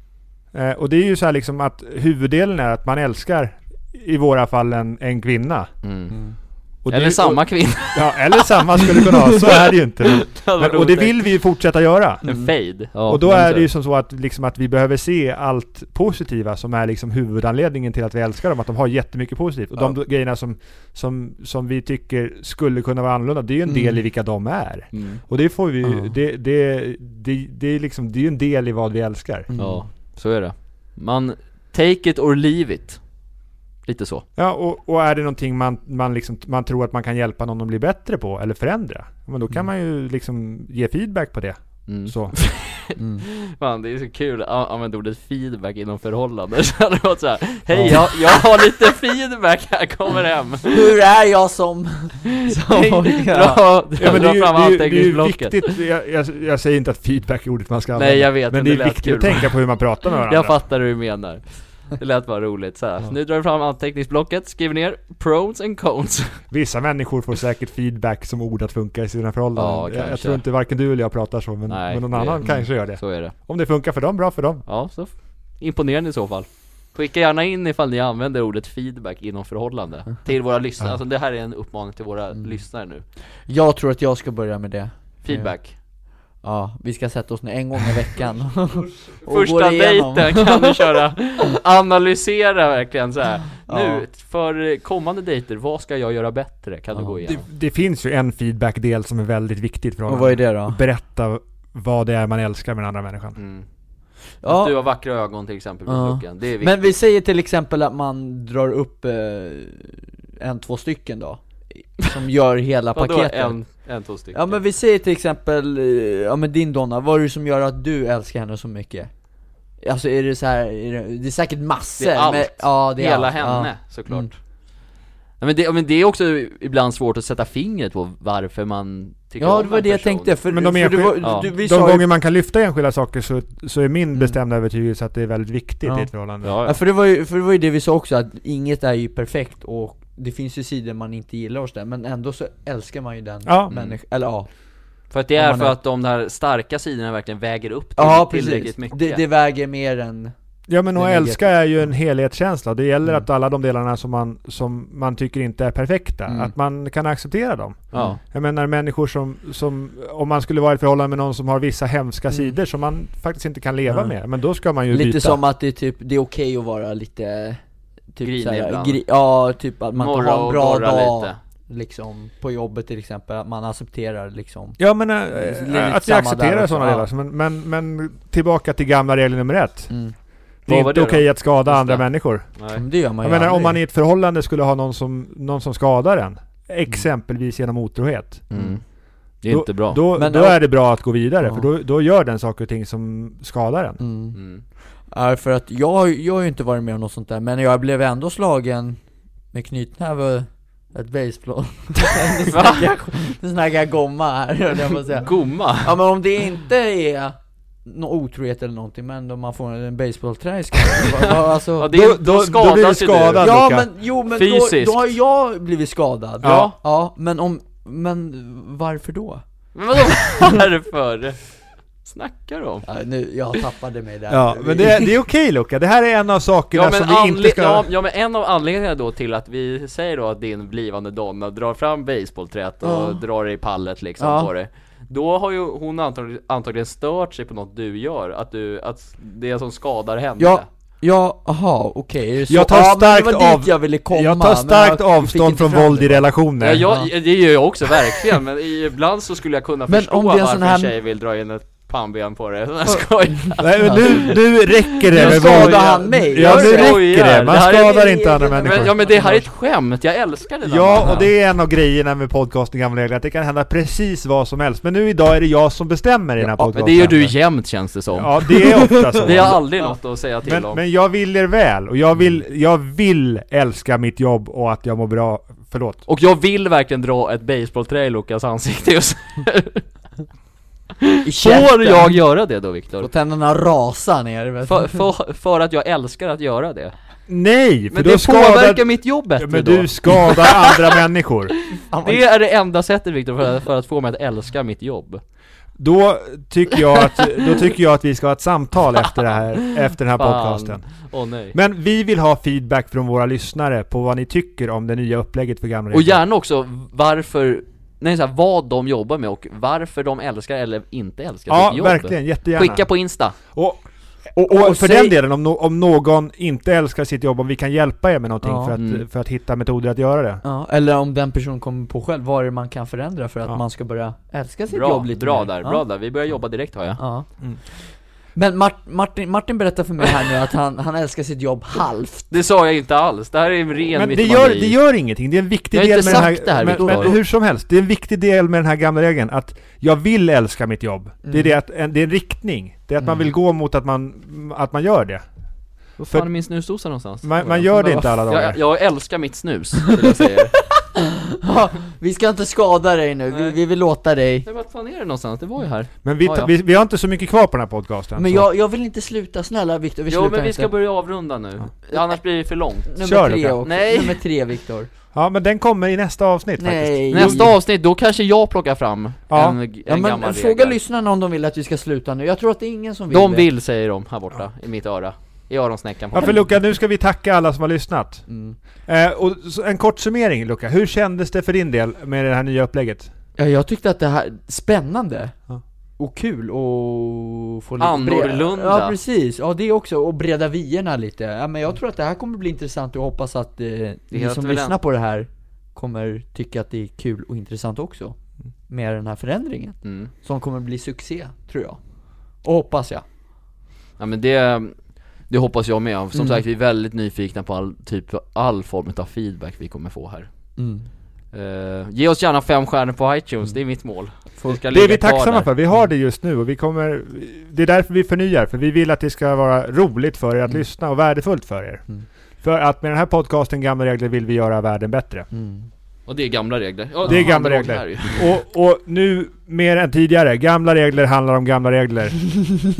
Speaker 4: Eh, och det är ju så här liksom att huvuddelen är att man älskar, i våra fall, en, en kvinna.
Speaker 2: mm.
Speaker 4: Och det är
Speaker 2: Eller
Speaker 4: ju-
Speaker 2: samma kvinna,
Speaker 4: Och, ja, eller samma skulle kunna vara. Så är det ju inte. Men, och det vill vi ju fortsätta göra.
Speaker 2: En fade ja,
Speaker 4: och då
Speaker 2: men
Speaker 4: är
Speaker 2: så-
Speaker 4: det ju som så att, liksom, att vi behöver se allt positiva som är liksom huvudanledningen till att vi älskar dem. Att de har jättemycket positivt. Och de grejerna som, som, som vi tycker skulle kunna vara annorlunda, det är ju en del i vilka de är.
Speaker 2: mm.
Speaker 4: Och det får vi ju,
Speaker 1: Ja.
Speaker 4: det, det, det, det är liksom, det är ju en del i vad vi älskar.
Speaker 2: Ja, så är det Man, take it or leave it Lite så
Speaker 4: Ja, och, och är det någonting man, man, liksom, man tror att man kan hjälpa någon att bli bättre på eller förändra, ja, men då kan man ju liksom ge feedback på det.
Speaker 2: mm.
Speaker 4: Så.
Speaker 2: Fan det är så kul att a- använda ordet feedback inom förhållanden Så hade det varit såhär, hej jag, jag har lite feedback här, kommer hem
Speaker 1: Hur är jag som... som ja.
Speaker 2: Dra,
Speaker 4: Ja, men det är
Speaker 2: dra
Speaker 4: ju,
Speaker 2: fram
Speaker 4: det är ju, det är ju
Speaker 2: anteckningsblocket
Speaker 4: viktigt, jag, jag, jag säger inte att feedback är ordet man ska använda.
Speaker 2: Nej jag vet,
Speaker 4: Men
Speaker 2: men
Speaker 4: det är
Speaker 2: lät
Speaker 4: viktigt
Speaker 2: kul
Speaker 4: att tänka på hur man pratar med varandra.
Speaker 2: Jag fattar hur du menar Det lät bara roligt så här. nu drar vi fram anteckningsblocket, skriver ner pros and cons
Speaker 4: Vissa människor får säkert feedback som ord att funka i sina förhållanden.
Speaker 2: Ja,
Speaker 4: jag, jag
Speaker 2: kanske.
Speaker 4: tror inte varken du eller jag pratar så, men,
Speaker 2: Nej,
Speaker 4: men någon
Speaker 2: det-
Speaker 4: annan
Speaker 2: mm.
Speaker 4: kanske gör det.
Speaker 2: Så är det
Speaker 4: Om det funkar för dem, bra för dem.
Speaker 2: Ja, så f- imponerande i så fall. Skicka gärna in ifall ni använder ordet feedback inom förhållande till våra lyssnare. Alltså det här är en uppmaning till våra
Speaker 4: Mm.
Speaker 2: lyssnare nu.
Speaker 1: Jag tror att jag ska börja med det
Speaker 2: Feedback.
Speaker 1: Ja, vi ska sätta oss ner en gång i veckan och gå
Speaker 2: Första
Speaker 1: igenom.
Speaker 2: dejten kan du köra, analysera verkligen så här. Nu,
Speaker 1: Ja.
Speaker 2: för kommande dejter, vad ska jag göra bättre? Kan du gå
Speaker 4: Det,
Speaker 2: igenom?
Speaker 4: det finns ju en feedback-del som är väldigt viktig för
Speaker 1: Och
Speaker 4: honom.
Speaker 1: vad är det då?
Speaker 4: Berätta vad det är man älskar med den andra människan.
Speaker 2: Mm.
Speaker 1: Ja.
Speaker 2: Att du har vackra ögon till exempel på
Speaker 1: Ja.
Speaker 2: luckan, det är viktigt.
Speaker 1: Men vi säger till exempel att man drar upp eh, en, två stycken då Som gör hela
Speaker 2: Vadå
Speaker 1: paketet
Speaker 2: en, en, två stycken?
Speaker 1: Ja men vi säger till exempel, eh, ja men din Donna, vad är det som gör att du älskar henne så mycket? Alltså är det så här, är det, det är säkert massor
Speaker 2: Det är allt.
Speaker 1: Men, ja, Mm. det är
Speaker 2: Hela
Speaker 1: allt.
Speaker 2: henne såklart. Ja, men, det, men det är också ibland svårt att sätta fingret på varför man tycker
Speaker 1: Ja, ja
Speaker 2: om
Speaker 1: det var
Speaker 2: en
Speaker 1: det jag
Speaker 2: person.
Speaker 1: tänkte, för,
Speaker 4: Men de
Speaker 1: för du, var,
Speaker 4: enskil-
Speaker 2: ja.
Speaker 1: du, vi
Speaker 4: De
Speaker 1: sa ju,
Speaker 4: gånger man kan lyfta enskilda saker så, så är
Speaker 2: Mm.
Speaker 4: min bestämda övertygelse att det är väldigt viktigt
Speaker 1: Ja.
Speaker 4: i ett förhållande.
Speaker 2: Ja,
Speaker 1: ja,
Speaker 2: ja.
Speaker 1: för, det var ju, för det var ju det vi sa också, att inget är ju perfekt och det finns ju sidor man inte gillar hos den, men ändå så älskar man ju den
Speaker 4: Ja.
Speaker 1: människan, eller ja
Speaker 2: För att det
Speaker 1: Om
Speaker 2: är
Speaker 1: man
Speaker 2: för
Speaker 1: är-
Speaker 2: att de där starka sidorna verkligen väger upp till,
Speaker 1: Ja precis,
Speaker 2: tillräckligt mycket
Speaker 1: det, det väger mer än
Speaker 4: Ja men
Speaker 1: Det Mm.
Speaker 4: att
Speaker 1: ligger-
Speaker 4: älska är ju en helhetskänsla. Det gäller att alla de delarna som man, som man tycker inte är perfekta,
Speaker 1: Mm.
Speaker 4: att man kan acceptera dem.
Speaker 2: Ja,
Speaker 4: Jag menar människor som, som, om man skulle vara i ett förhållande med någon som har vissa hemska sidor som man faktiskt inte kan leva
Speaker 1: Mm. Ja.
Speaker 4: med, men då ska man ju
Speaker 1: Lite
Speaker 4: byta.
Speaker 1: som att det är typ, det är okej att vara lite Typ
Speaker 2: Grinig
Speaker 1: såhär,
Speaker 2: ibland.
Speaker 1: gri, ja typ att man inte
Speaker 2: morra
Speaker 1: har en
Speaker 2: och
Speaker 1: bra
Speaker 2: gorra
Speaker 1: dag
Speaker 2: lite
Speaker 1: liksom på jobbet till exempel, att man accepterar liksom
Speaker 4: Ja men eh,
Speaker 1: lite
Speaker 4: att vi
Speaker 1: samma där
Speaker 4: accepterar
Speaker 1: också,
Speaker 4: sådana
Speaker 1: ja.
Speaker 4: delar. Men, men, men tillbaka till gamla regel nummer ett.
Speaker 1: mm.
Speaker 4: Det
Speaker 2: Vad
Speaker 4: är
Speaker 2: var
Speaker 4: inte
Speaker 2: det då?
Speaker 4: okej att skada
Speaker 2: Just
Speaker 4: andra
Speaker 2: det.
Speaker 4: människor.
Speaker 2: Nej.
Speaker 1: Men det gör man
Speaker 4: Jag
Speaker 1: ju
Speaker 4: menar om
Speaker 1: aldrig.
Speaker 4: man i ett förhållande skulle ha någon som, någon som skadar en. Exempelvis genom otrohet.
Speaker 2: Mm. Det är inte bra.
Speaker 4: Då,
Speaker 1: Men
Speaker 4: då
Speaker 1: ja.
Speaker 4: är det bra att gå vidare.
Speaker 1: Ja.
Speaker 4: För då, då gör den saker och ting som skadar en.
Speaker 1: mm.
Speaker 2: Mm.
Speaker 1: Ja, för att jag, har ju- jag har ju inte varit med om något sånt där, men jag blev ändå slagen med knytnäve och ett baseball Nu snackar jag- Nu snackar jag gomma här, höll jag på att säga
Speaker 2: Gomma?
Speaker 1: Ja men om det inte är nå otrohet eller någonting, men om man får en baseballträ i skallen, vad- vad- alltså,
Speaker 2: Ja, det,
Speaker 4: Då-
Speaker 2: då, då
Speaker 4: då- då
Speaker 2: skadas
Speaker 4: blir du
Speaker 2: ju
Speaker 4: skadad.
Speaker 2: Du.
Speaker 1: Ja
Speaker 4: Luka.
Speaker 1: men jo men
Speaker 2: Fysiskt.
Speaker 1: Då, då har jag blivit skadad
Speaker 2: Ja.
Speaker 1: Ja, men om, men varför då?
Speaker 2: Men vadå varför? Snackar du om?
Speaker 1: Ja, nu, jag tappade mig där
Speaker 4: Ja, men det, det är okej Luca. Det här är en av sakerna
Speaker 2: Ja men,
Speaker 4: som vi inte
Speaker 2: anle-
Speaker 4: ska...
Speaker 2: ja, ja men en av anledningarna då till att vi säger då att din blivande donna drar fram baseballträt och
Speaker 1: Ja.
Speaker 2: drar i pallet liksom
Speaker 1: Ja.
Speaker 2: på det Då har ju hon antagligen, antagligen stört sig på något du gör, att du, att det som skadar henne
Speaker 1: Ja, ja, aha, okej är det så?
Speaker 4: Jag tar
Speaker 1: ja, men
Speaker 4: starkt
Speaker 1: det var
Speaker 4: av-
Speaker 1: dit jag ville komma
Speaker 4: jag tar
Speaker 1: men
Speaker 4: starkt
Speaker 1: jag fick
Speaker 4: avstånd
Speaker 1: inte
Speaker 4: från
Speaker 1: fram
Speaker 4: våld
Speaker 1: det.
Speaker 4: i relationer.
Speaker 2: Ja, jag, det gör jag också verkligen, men ibland så skulle jag kunna
Speaker 1: Men
Speaker 2: förstå
Speaker 1: om det är en
Speaker 2: varför
Speaker 1: sån här-
Speaker 2: en tjej vill dra in ett pannben på det, jag skojar!
Speaker 4: Nej, men nu, nu räcker det
Speaker 1: Nu
Speaker 4: med
Speaker 1: skadar
Speaker 4: våld.
Speaker 1: han mig.
Speaker 4: Ja,
Speaker 1: Jag
Speaker 4: nu
Speaker 2: skojar.
Speaker 4: räcker det. Man
Speaker 2: Det här är
Speaker 4: skadar
Speaker 1: min
Speaker 4: inte andra
Speaker 1: egen-
Speaker 4: människor.
Speaker 2: Men, ja men det här är ett skämt, jag älskar det där.
Speaker 4: Ja, och det är en av grejerna med podcasten Gamla Regler, att det kan hända precis vad den här podcasten. Ja, men det är- vad som helst. Men nu idag är det jag som bestämmer i den här
Speaker 2: Ja, men
Speaker 4: podcasten.
Speaker 2: det gör du jämt känns det som.
Speaker 4: Ja, det är ofta så.
Speaker 2: Det är aldrig något att säga till Mm.
Speaker 4: men,
Speaker 2: om.
Speaker 4: men jag vill er väl, och jag vill, jag vill älska mitt jobb och att jag mår bra. Förlåt.
Speaker 2: Och jag vill verkligen dra ett baseballträ i Lukas ansikte just
Speaker 1: I
Speaker 2: Får
Speaker 1: käften.
Speaker 2: jag göra det då Viktor?
Speaker 1: Och tänderna rasar ner vet du.
Speaker 2: För, för, för att jag älskar att göra det.
Speaker 4: Nej! För
Speaker 2: Men
Speaker 4: då
Speaker 2: det
Speaker 4: skadar...
Speaker 2: påverkar mitt jobb bättre
Speaker 4: Ja, men
Speaker 2: då.
Speaker 4: du skadar andra människor.
Speaker 1: Fan, vad
Speaker 2: Det är det enda sättet Viktor för, för att få mig att älska mitt jobb.
Speaker 4: Då tycker, jag att, då tycker jag att vi ska ha ett samtal efter, det här, efter den här
Speaker 2: Fan.
Speaker 4: podcasten.
Speaker 2: Åh nej.
Speaker 4: Men vi vill ha feedback från våra lyssnare på vad ni tycker om det nya upplägget för Gamla
Speaker 2: Och
Speaker 4: Regler.
Speaker 2: gärna också varför, nej så här, vad de jobbar med och varför de älskar eller inte älskar
Speaker 4: Ja,
Speaker 2: sitt jobb.
Speaker 4: verkligen. Jättegärna.
Speaker 2: Skicka på Insta.
Speaker 4: Och, och, och,
Speaker 1: och
Speaker 4: för
Speaker 1: säg-
Speaker 4: den delen, om, no, om någon inte älskar sitt jobb, om vi kan hjälpa er med någonting
Speaker 1: Ja.
Speaker 4: för, att,
Speaker 2: Mm.
Speaker 4: för att hitta metoder att göra det.
Speaker 1: Ja, eller om den personen kommer på själv, vad är det man kan förändra för att
Speaker 4: Ja.
Speaker 1: man ska börja älska sitt
Speaker 2: Bra,
Speaker 1: jobb lite
Speaker 2: bra
Speaker 1: mer?
Speaker 2: där,
Speaker 1: ja.
Speaker 2: bra där. Vi börjar jobba direkt har jag.
Speaker 1: Ja.
Speaker 4: Mm.
Speaker 1: Men Mart- Martin, Martin berättar för mig här nu att han, han älskar sitt jobb halvt
Speaker 2: Det sa jag inte alls, det här är en ren
Speaker 4: Men det
Speaker 2: mytomani.
Speaker 4: gör, det gör ingenting, det är en viktig
Speaker 2: Jag har
Speaker 4: del med
Speaker 2: inte
Speaker 4: den här...
Speaker 2: sagt det här,
Speaker 4: men,
Speaker 2: Viktor.
Speaker 4: men hur som helst, det är en viktig del med den här gamla regeln att jag vill älska mitt jobb.
Speaker 2: Mm.
Speaker 4: Det är det att, en, det är en riktning. Det är att man
Speaker 1: Mm.
Speaker 4: vill gå mot att man, att man gör det.
Speaker 2: Var
Speaker 4: För-
Speaker 2: fan är min snusdosa någonstans?
Speaker 4: Man, man gör det
Speaker 1: Men
Speaker 4: inte alla dagar.
Speaker 2: jag, jag älskar mitt snus, vill jag säga.
Speaker 1: Ja, Vi ska inte skada dig nu, vi,
Speaker 2: Nej.
Speaker 1: vi vill låta dig
Speaker 2: Nej, vart fan är det någonstans? Det var ju här.
Speaker 4: Men vi,
Speaker 2: Ja,
Speaker 4: ta-
Speaker 2: ja.
Speaker 4: Vi, vi har inte så mycket kvar på den här podcasten.
Speaker 1: Men
Speaker 4: så-
Speaker 1: jag, jag vill inte sluta, snälla Viktor, vi
Speaker 2: Jo
Speaker 1: slutar
Speaker 2: men vi ska
Speaker 1: inte
Speaker 2: börja avrunda nu, annars blir det för långt.
Speaker 1: Nummer
Speaker 4: Kör,
Speaker 1: tre
Speaker 4: Luka.
Speaker 1: också,
Speaker 2: Nej.
Speaker 1: nummer tre Viktor
Speaker 4: Ja, men den kommer i nästa avsnitt faktiskt.
Speaker 1: Nej!
Speaker 2: Nästa avsnitt, då kanske jag plockar fram
Speaker 4: Ja.
Speaker 2: en, en
Speaker 1: Ja men
Speaker 2: gammal
Speaker 1: fråga
Speaker 2: regel.
Speaker 1: lyssnarna om de vill att vi ska sluta nu, jag tror att det är ingen som vill
Speaker 2: De
Speaker 1: det.
Speaker 2: vill säger de här borta, i mitt öra. I öronsnäckan på
Speaker 4: Ja,
Speaker 2: mig.
Speaker 4: för Luca, nu ska vi tacka alla som har lyssnat.
Speaker 1: Mm.
Speaker 4: Eh, och så en kort summering Luca, hur kändes det för din del med det här nya upplägget?
Speaker 1: Ja, jag tyckte att det här, spännande
Speaker 4: Ja.
Speaker 1: och kul och få
Speaker 2: Annorlunda.
Speaker 1: Ja precis, ja det också, och breda vyerna lite. Ja, men jag tror att det här kommer bli intressant och jag hoppas att eh, ni
Speaker 2: heter
Speaker 1: som
Speaker 2: väl
Speaker 1: lyssnar
Speaker 2: en-
Speaker 1: på det här kommer tycka att det är kul och intressant också. Med den här förändringen,
Speaker 2: Mm.
Speaker 1: som kommer bli succé, tror jag. Och hoppas jag.
Speaker 2: Ja men det, det hoppas jag med. Som
Speaker 4: Mm.
Speaker 2: sagt, vi är väldigt nyfikna på all, typ, all form av feedback vi kommer få här. Eh, ge oss gärna fem stjärnor på iTunes, det är mitt mål. Det, ska
Speaker 4: Det är
Speaker 2: ligga
Speaker 4: vi
Speaker 2: kvar
Speaker 4: tacksamma
Speaker 2: där. Mm.
Speaker 4: för, vi har det just nu och vi kommer... Det är därför vi förnyar, för vi vill att det ska vara roligt för er att lyssna och värdefullt för er.
Speaker 1: Mm.
Speaker 4: För att med den här podcasten Gamla Regler vill vi göra världen bättre.
Speaker 1: Mm.
Speaker 2: Och det är gamla regler. Ja,
Speaker 4: Det är
Speaker 2: fan,
Speaker 4: gamla
Speaker 2: det var
Speaker 4: regler.
Speaker 2: det här ju.
Speaker 4: Och, och nu, mer än tidigare, gamla regler handlar om gamla regler.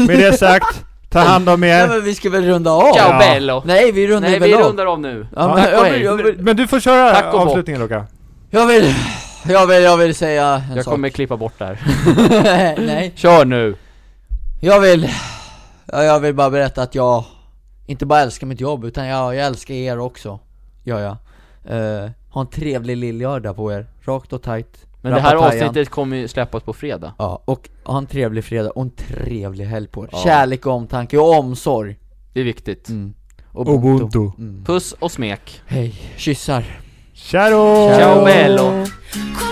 Speaker 4: Med det sagt, ta hand om
Speaker 1: Nej
Speaker 4: er.
Speaker 1: men vi ska väl runda av?
Speaker 2: Ciao
Speaker 4: Ja.
Speaker 2: bello!
Speaker 1: Nej vi rundar
Speaker 2: Nej
Speaker 1: väl
Speaker 2: vi
Speaker 1: av?
Speaker 2: rundar av nu.
Speaker 1: Ja, men,
Speaker 2: Tack och
Speaker 1: jag,
Speaker 2: hej.
Speaker 1: vill, jag, vill,
Speaker 4: Men du får
Speaker 2: Tack
Speaker 4: köra
Speaker 2: och bock.
Speaker 4: avslutningen Luca.
Speaker 1: jag vill, jag vill, jag vill säga en
Speaker 2: Jag
Speaker 1: sak.
Speaker 2: kommer klippa bort det här.
Speaker 1: Nej.
Speaker 2: Kör nu!
Speaker 1: Jag vill, ja, jag vill bara berätta att jag inte bara älskar mitt jobb utan jag, jag älskar er också. Gör jag. Eh, ha en trevlig lillördag på er. Rakt och tajt.
Speaker 2: Men det här
Speaker 1: Rappapajan.
Speaker 2: avsnittet kommer ju släppas på fredag.
Speaker 1: Ja, och ha en trevlig fredag och en trevlig helg på er.
Speaker 2: Ja.
Speaker 1: Kärlek och omtanke och omsorg.
Speaker 2: Det är viktigt.
Speaker 1: Mm.
Speaker 4: Ubuntu.
Speaker 1: Mm.
Speaker 2: Puss och smek.
Speaker 1: Hej, kyssar.
Speaker 8: Ciao!
Speaker 4: Ciao bello!
Speaker 2: Ciao.
Speaker 5: Ah, Ah,